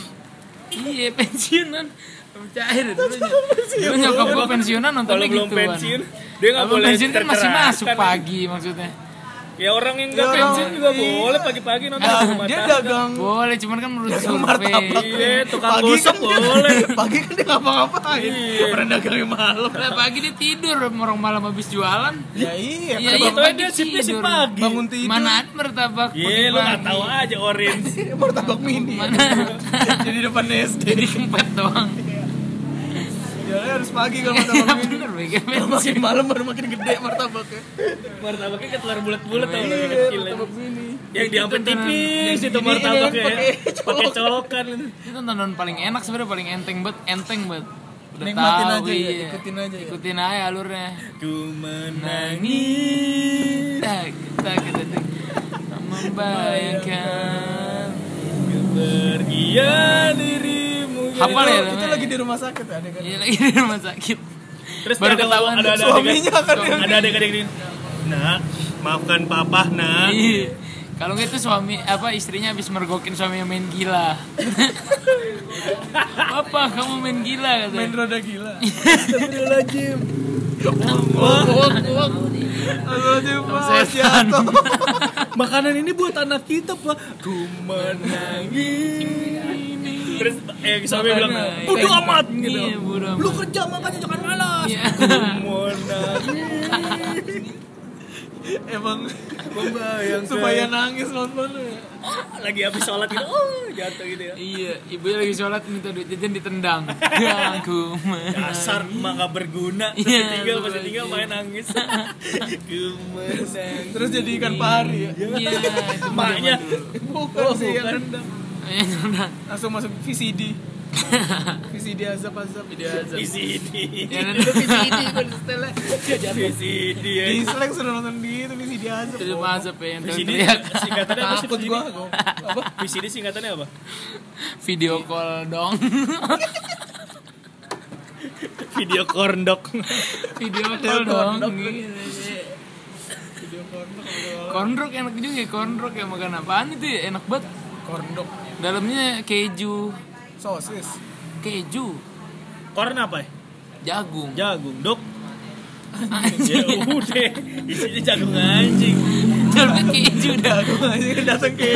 Speaker 1: Iya pensiunan Cair dulu Dulu nyokap gue pensiunan
Speaker 3: Iya, Kalau
Speaker 1: nontonnya
Speaker 3: belum
Speaker 1: gituan
Speaker 3: pensiun Dia gak
Speaker 1: Abang
Speaker 3: boleh
Speaker 1: pensiun kan masih
Speaker 3: tercerahkan.
Speaker 1: masuk pagi maksudnya.
Speaker 3: Ya orang yang gak
Speaker 2: Ya,
Speaker 3: pensiun
Speaker 2: orang-
Speaker 3: juga
Speaker 2: iya. Nah,
Speaker 3: boleh pagi-pagi nonton Iya, rumah
Speaker 2: dia
Speaker 3: tangga.
Speaker 2: dagang
Speaker 1: Boleh, cuman kan menurut
Speaker 2: martabak. kan
Speaker 1: survei.
Speaker 3: Iya tukang gosok
Speaker 2: dia-
Speaker 3: boleh Iya.
Speaker 2: pagi kan dia ngapa-ngapain pernah dagangnya malam
Speaker 1: Lah pagi dia tidur, orang malam habis jualan.
Speaker 2: ya
Speaker 1: Iya,
Speaker 2: iya
Speaker 3: Iya
Speaker 1: iya,
Speaker 3: tau
Speaker 1: pagi
Speaker 3: dia shiftnya shift
Speaker 1: tidur.
Speaker 3: pagi
Speaker 2: bangun tidur
Speaker 1: Mana ada martabak
Speaker 3: Iya lu gak
Speaker 1: pagi-pagi.
Speaker 3: tau aja Orin
Speaker 2: martabak mini jadi depan SD
Speaker 1: Jadi empat doang.
Speaker 2: jalannya harus pagi kalau
Speaker 1: Iya
Speaker 2: martabak mini
Speaker 1: bener, Bega.
Speaker 2: Kalau makin malam baru makin gede martabaknya
Speaker 3: Martabaknya ketelar bulat-bulat tau lu yang
Speaker 2: iya
Speaker 3: kecil aja.
Speaker 2: martabak mini
Speaker 3: Ya yang diambil tipis itu
Speaker 2: Ini-
Speaker 3: martabak
Speaker 2: ini
Speaker 3: ya
Speaker 2: pakai
Speaker 3: pakai colokan
Speaker 1: itu tontonan paling enak sebenarnya paling enteng banget enteng banget udah tahu
Speaker 2: Nikmatin aja ya,
Speaker 1: iya.
Speaker 2: ikutin aja ya.
Speaker 1: ikutin aja alurnya Nah,
Speaker 3: ku Nah, menangis
Speaker 1: nangis tak tak tak, tak. Tak membayangkan
Speaker 3: kepergian dirimu yang-
Speaker 1: Hafal ya,
Speaker 2: Itu
Speaker 1: namanya?
Speaker 2: lagi di rumah sakit ada kan.
Speaker 1: iya lagi di rumah sakit
Speaker 3: terus
Speaker 1: Baru
Speaker 3: ada
Speaker 1: ketahuan
Speaker 3: ada ada
Speaker 2: suaminya kan
Speaker 3: adegan- ada ada adegan ini nak maafkan papa nak
Speaker 1: Iya. kalau nggak itu suami apa istrinya habis mergokin suaminya main gila apa kamu main gila
Speaker 2: Main
Speaker 1: katanya
Speaker 2: roda gila. Astagfirullahaladzim. Astagfirullahaladzim. Mas
Speaker 1: Setan.
Speaker 2: jatuh.
Speaker 3: makanan ini buat anak kita pak ku menangis terus eh suami bilang
Speaker 1: Makanya.
Speaker 3: bodoh amat gitu
Speaker 1: Iya, bodo amat.
Speaker 3: lu kerja makanya jangan malas
Speaker 1: Iya.
Speaker 3: ku menangis
Speaker 2: Emang
Speaker 3: membayangkan
Speaker 2: supaya nangis nonton ya.
Speaker 3: lagi habis sholat gitu oh jatuh gitu ya
Speaker 1: Iya, ibu lagi sholat minta duit jajan ditendang. Ya, aku
Speaker 3: dasar maka berguna terus
Speaker 1: Iya,
Speaker 3: ditinggal pas
Speaker 1: betul.
Speaker 3: ditinggal main nangis ku menangis
Speaker 2: Terus jadi ikan pari ya.
Speaker 1: Iya, itu
Speaker 3: maknya
Speaker 2: Oh, Bukan sih yang rendang.
Speaker 1: yang tendang.
Speaker 2: Langsung masuk VCD. VCD azab azab.
Speaker 3: VCD
Speaker 1: Ya,
Speaker 2: Itu
Speaker 1: nanti
Speaker 2: VCD kan setelah.
Speaker 3: VCD ya.
Speaker 2: Di Slack sudah nonton di itu VCD azab.
Speaker 1: Terus masuk ya, yang
Speaker 3: VCD
Speaker 1: teriak
Speaker 3: singkatannya apa sih
Speaker 2: Takut
Speaker 3: VCD?
Speaker 2: gua. gua. Apa?
Speaker 3: VCD singkatannya apa?
Speaker 1: video call dong.
Speaker 3: Video korndok
Speaker 1: video call dong. Iya.
Speaker 2: Video corner.
Speaker 1: Corndrok enak juga ya, corndrok ya makan apaan itu ya, enak banget.
Speaker 2: Corndog.
Speaker 1: Dalamnya keju,
Speaker 2: Sosis.
Speaker 1: keju,
Speaker 3: Korn apa ya?
Speaker 1: jagung.
Speaker 3: Jagung dok Ya udah Isinya jagung anjing
Speaker 1: Dalamnya keju dah.
Speaker 2: Jago aja datang ke.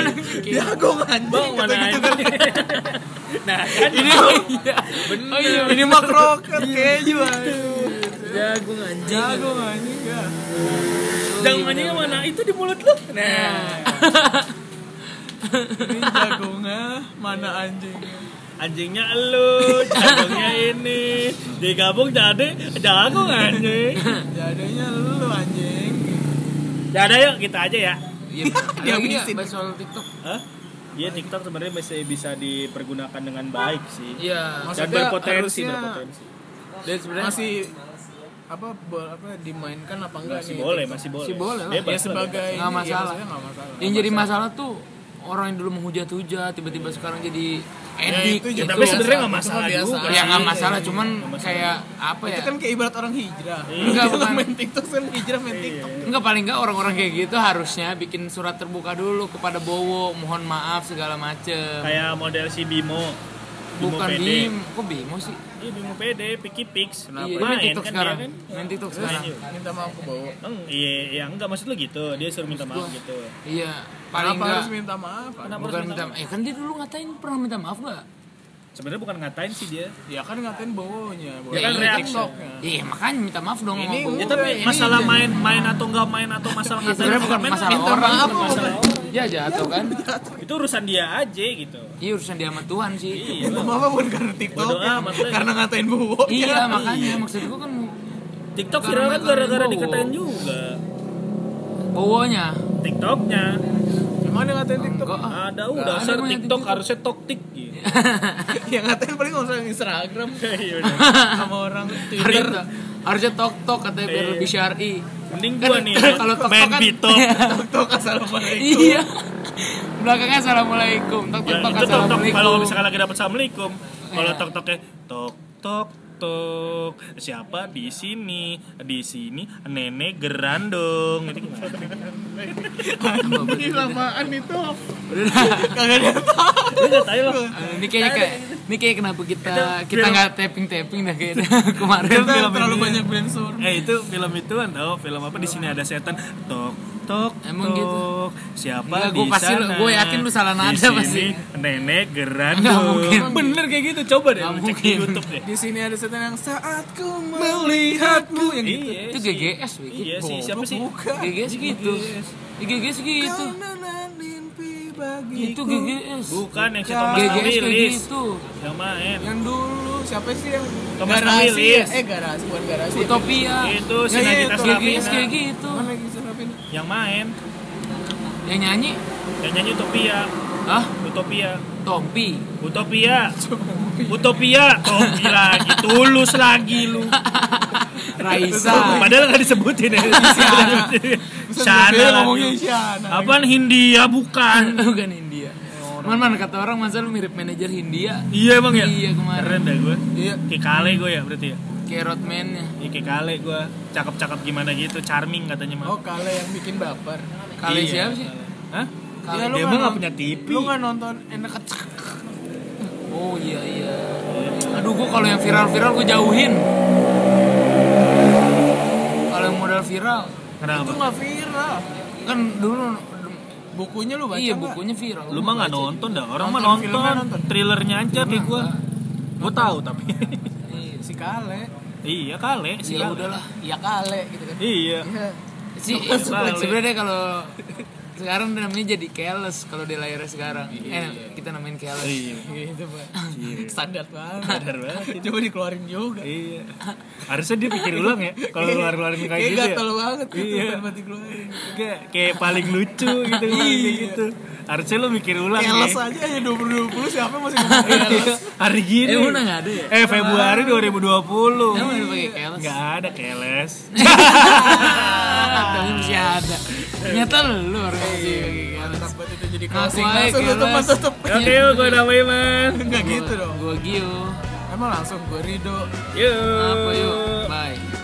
Speaker 2: Jago anjing.
Speaker 3: Bang mana
Speaker 2: Kata gitu.
Speaker 3: anjing Nah kan
Speaker 1: Ini oh iya. Oh iya,
Speaker 2: Ini mah kroket keju aduh.
Speaker 1: jagung anjing.
Speaker 2: Jago anjing ya.
Speaker 3: Jagung anjingnya kan mana? Itu di mulut lu Nah
Speaker 2: Ini jagungnya mana anjingnya?
Speaker 3: Anjingnya elu Jagungnya ini Digabung jadi Jagung anjing
Speaker 2: Jadinya lu anjing.
Speaker 3: Ya ada yuk kita aja ya
Speaker 1: Iya,
Speaker 2: Dia
Speaker 1: dia
Speaker 2: habisin.
Speaker 1: bisa soal TikTok.
Speaker 3: Hah? Iya TikTok sebenarnya masih bisa dipergunakan dengan baik sih
Speaker 1: Iya.
Speaker 3: Dan
Speaker 2: Maksudnya
Speaker 3: berpotensi
Speaker 2: harusnya-
Speaker 3: Berpotensi
Speaker 1: Dan sebenarnya masih
Speaker 2: Masih apa bo- apa dimainkan apa enggak
Speaker 3: Masih
Speaker 2: nih?
Speaker 3: boleh Masih boleh
Speaker 1: Masih boleh lah.
Speaker 3: Bebas
Speaker 2: Ya sebagai
Speaker 1: Nggak
Speaker 2: ini,
Speaker 1: masalah.
Speaker 2: Ya, maksudnya nggak masalah.
Speaker 1: yang jadi masalah tuh orang yang dulu menghujat-hujat tiba-tiba sekarang jadi edik.
Speaker 2: itu juga
Speaker 3: Tapi
Speaker 2: biasa.
Speaker 3: sebenarnya nggak
Speaker 2: Itu
Speaker 3: masalah
Speaker 2: mah biasa.
Speaker 3: juga
Speaker 1: ya nggak masalah, cuman kayak apa ya?
Speaker 2: Itu kan kayak ibarat orang hijrah.
Speaker 1: Enggak,
Speaker 2: Lu
Speaker 1: bukan.
Speaker 2: main TikTok kan hijrah main TikTok.
Speaker 1: Enggak paling enggak orang-orang kayak gitu harusnya bikin surat terbuka dulu kepada Bowo, mohon maaf segala macem.
Speaker 3: Kayak model si Bimo Bimo
Speaker 1: Bukan
Speaker 3: PD.
Speaker 1: Bim, kok Bimo sih?
Speaker 3: Iya Bimo PD, Piki Pix
Speaker 1: Iya, dia Iya. main
Speaker 3: Main
Speaker 1: TikTok
Speaker 3: kan
Speaker 1: sekarang.
Speaker 3: dia kan
Speaker 1: Main TikTok sekarang.
Speaker 3: Main yuk.
Speaker 2: Minta maaf ke bawa.
Speaker 3: Eng, Iya, iya enggak maksud lu gitu Dia suruh minta maaf gitu
Speaker 1: Iya, paling
Speaker 2: Kenapa
Speaker 1: enggak
Speaker 2: harus minta maaf?
Speaker 3: Kenapa
Speaker 1: bukan
Speaker 3: harus
Speaker 1: minta eh kan dia dulu ngatain pernah minta maaf enggak?
Speaker 3: Sebenarnya bukan ngatain sih dia
Speaker 2: Ya kan ngatain bawonya, bawa.
Speaker 3: Ya kan
Speaker 1: iya,
Speaker 3: reaksi.
Speaker 2: TikToknya.
Speaker 1: Iya, makanya minta maaf dong sama
Speaker 2: Ini
Speaker 1: Bowo.
Speaker 2: Ya,
Speaker 3: Ya tapi
Speaker 2: ini
Speaker 3: masalah main main atau enggak main atau masalah
Speaker 1: Iya,
Speaker 3: ngatain
Speaker 1: sebenarnya bukan
Speaker 3: main,
Speaker 1: masalah
Speaker 3: minta
Speaker 1: orang,
Speaker 3: maaf,
Speaker 1: bukan
Speaker 3: masalah
Speaker 1: masalah
Speaker 3: orang.
Speaker 1: Ya jatuh kan?
Speaker 3: Itu urusan dia aja gitu
Speaker 1: Iya urusan dia sama Tuhan sih.
Speaker 3: Iya
Speaker 2: Minta maaf bukan karena TikToknya,
Speaker 3: Bodo amat lah.
Speaker 2: karena ngatain bawa.
Speaker 1: Iya makanya maksud gua kan
Speaker 3: TikTok
Speaker 1: Karena
Speaker 3: viral kan
Speaker 1: karena
Speaker 3: gara-gara
Speaker 1: bohong.
Speaker 3: dikatain juga
Speaker 1: bowonya
Speaker 3: TikToknya
Speaker 2: Gimana yang ngatain TikTok?
Speaker 1: enggak ah.
Speaker 3: Ada udah
Speaker 1: Nggak ada
Speaker 3: dasar
Speaker 1: gua yang
Speaker 3: TikTok
Speaker 1: TikTok.
Speaker 3: harusnya toktik gitu
Speaker 2: yang Ya ngatain paling orang Instagram
Speaker 3: Iya, udah.
Speaker 2: sama orang
Speaker 1: harusnya,
Speaker 2: Twitter.
Speaker 1: harusnya tok tok katanya biar
Speaker 3: Iya.
Speaker 1: lebih syari
Speaker 3: Mending gua nih
Speaker 1: kalau tok
Speaker 3: main
Speaker 1: tok kan
Speaker 3: bitok
Speaker 2: TikTok assalamualaikum.
Speaker 1: iya belakangnya assalamualaikum tok tok
Speaker 3: Ya,
Speaker 1: tok
Speaker 3: itu tok tok kalau misalkan lagi dapat assalamualaikum, kalau tok toknya tok tok tok siapa di sini di sini nenek gerandong itu gimana?
Speaker 2: Ini lamaan itu.
Speaker 1: Udah dah.
Speaker 2: Kagak ada yang tahu.
Speaker 3: Lu nggak tahu loh.
Speaker 1: Eh, ini kayaknya kayak ini kayak kenapa kita kita nggak tapping tapping dah kayaknya kemarin
Speaker 2: Ternyata
Speaker 3: film
Speaker 2: terlalu
Speaker 3: ini.
Speaker 2: banyak brainstorm.
Speaker 3: Eh itu film itu tau film apa di sini ada setan tok tok
Speaker 1: Emang
Speaker 3: tok.
Speaker 1: gitu?
Speaker 3: siapa
Speaker 1: Enggak, gua
Speaker 3: di
Speaker 1: pasti lu-
Speaker 3: sana?
Speaker 1: gua yakin lu salah nada
Speaker 3: di sini,
Speaker 1: pasti. Nggak
Speaker 3: nenek gerandong
Speaker 1: mungkin.
Speaker 3: bener kayak gitu coba deh
Speaker 1: Nggak
Speaker 3: lu cek di
Speaker 1: mungkin.
Speaker 3: YouTube deh
Speaker 2: Di sini ada setan yang saat ku melihatmu yang gitu.
Speaker 3: Iya,
Speaker 1: itu
Speaker 3: sih.
Speaker 1: GGS wih
Speaker 3: Iya sih, siapa sih?
Speaker 2: Bukan.
Speaker 1: GGS gitu Ih, GGS gitu
Speaker 2: Kanan mimpi bagiku.
Speaker 1: itu GGS
Speaker 3: Bukan yang si
Speaker 2: Ya.
Speaker 3: Thomas
Speaker 1: GGS kayak
Speaker 3: Willis
Speaker 1: gitu
Speaker 3: yang main.
Speaker 2: Yang dulu siapa sih yang
Speaker 3: Thomas
Speaker 2: garasi? ya?
Speaker 3: Willis.
Speaker 2: Eh garasi bukan garasi.
Speaker 1: Utopia Iya,
Speaker 3: Itu si
Speaker 2: Ya, ya,
Speaker 3: Nagita
Speaker 2: itu.
Speaker 1: GGS
Speaker 3: Slavina
Speaker 1: kayak gitu
Speaker 2: Mana lagi serapin?
Speaker 3: yang main.
Speaker 1: yang nyanyi
Speaker 3: yang nyanyi utopia
Speaker 1: Hah?
Speaker 3: utopia
Speaker 1: Topi.
Speaker 3: utopia utopia topi lagi tulus lagi lu
Speaker 1: Raisa.
Speaker 3: padahal nggak disebutin ya Shana
Speaker 2: ngomongnya
Speaker 3: lagi
Speaker 2: Isyana.
Speaker 3: apaan Hindia bukan
Speaker 1: Bukan India. Man, man, kata orang masa lu mirip manajer Hindia.
Speaker 3: iya emang ya
Speaker 1: Iya, kemarin.
Speaker 3: keren dah gue
Speaker 2: Iya.
Speaker 3: kekale gue ya berarti ya
Speaker 1: Kayak Rodman-nya.
Speaker 3: Iya kayak kale gue cakep-cakep gimana gitu charming katanya mah
Speaker 2: Oh, kale yang bikin baper.
Speaker 1: Kali siapa
Speaker 3: Iya,
Speaker 1: sih?
Speaker 3: Hah?
Speaker 1: Kale.
Speaker 2: Ya, lu nggak
Speaker 3: dia mah Iya, nggak
Speaker 2: nonton-
Speaker 3: punya TV
Speaker 2: Lu nggak nonton enak kecek.
Speaker 1: Oh iya iya. Aduh gua kalau yang viral-viral gua jauhin. Kalau yang modal viral
Speaker 2: Itu
Speaker 3: kenapa
Speaker 2: nggak viral.
Speaker 1: kan dulu
Speaker 2: Bukunya lu baca
Speaker 1: iya
Speaker 2: nggak?
Speaker 1: bukunya viral.
Speaker 3: lu mah nggak nonton dah orang mah
Speaker 2: Nonton,
Speaker 3: nonton,
Speaker 2: filmnya nonton.
Speaker 3: thrillernya aja kayak gue gue tahu tapi
Speaker 1: Iya.
Speaker 2: Si kale.
Speaker 3: iya kale sih
Speaker 1: Ya udahlah.
Speaker 2: Ya kale gitu kan.
Speaker 3: iya
Speaker 2: Iya.
Speaker 1: Si
Speaker 3: Iya, kali.
Speaker 1: sebenarnya kalau sekarang namanya jadi careless kalau dia lahirnya sekarang. Eh kita namain careless.
Speaker 3: iya
Speaker 2: Iya, coba. Standar banget.
Speaker 3: sadar banget
Speaker 2: Coba dikeluarin juga.
Speaker 3: iya harusnya dia pikir ulang ya kalau keluar keluarin kayak
Speaker 2: Kayak
Speaker 3: gitu ya
Speaker 2: gatel banget gitu,
Speaker 3: Iya.
Speaker 2: pengen mati keluarin.
Speaker 3: Kayak- kayak paling lucu gitu paling kayak gitu harusnya lu mikir ulang
Speaker 2: Keles
Speaker 3: ya Iya,
Speaker 2: aja aja 2020 siapa yang masih ngomong keles.
Speaker 3: hari gini
Speaker 1: Eh udah nggak ada ya?
Speaker 3: eh Februari 2020
Speaker 1: Emang udah pakai careless.
Speaker 3: nggak ada keles
Speaker 1: Tapi masih ada. Ternyata lu orang yang masih pakai careless.
Speaker 2: Mantap banget itu jadi
Speaker 1: Ngaku
Speaker 2: closing.
Speaker 1: aja
Speaker 2: Langsung tutup,
Speaker 1: keles.
Speaker 2: tutup.
Speaker 3: oke gue namanya man
Speaker 2: Enggak gitu dong.
Speaker 1: Gua Gio.
Speaker 2: Emang langsung gue Rido.
Speaker 3: yuk
Speaker 1: Apa yuk? Bye.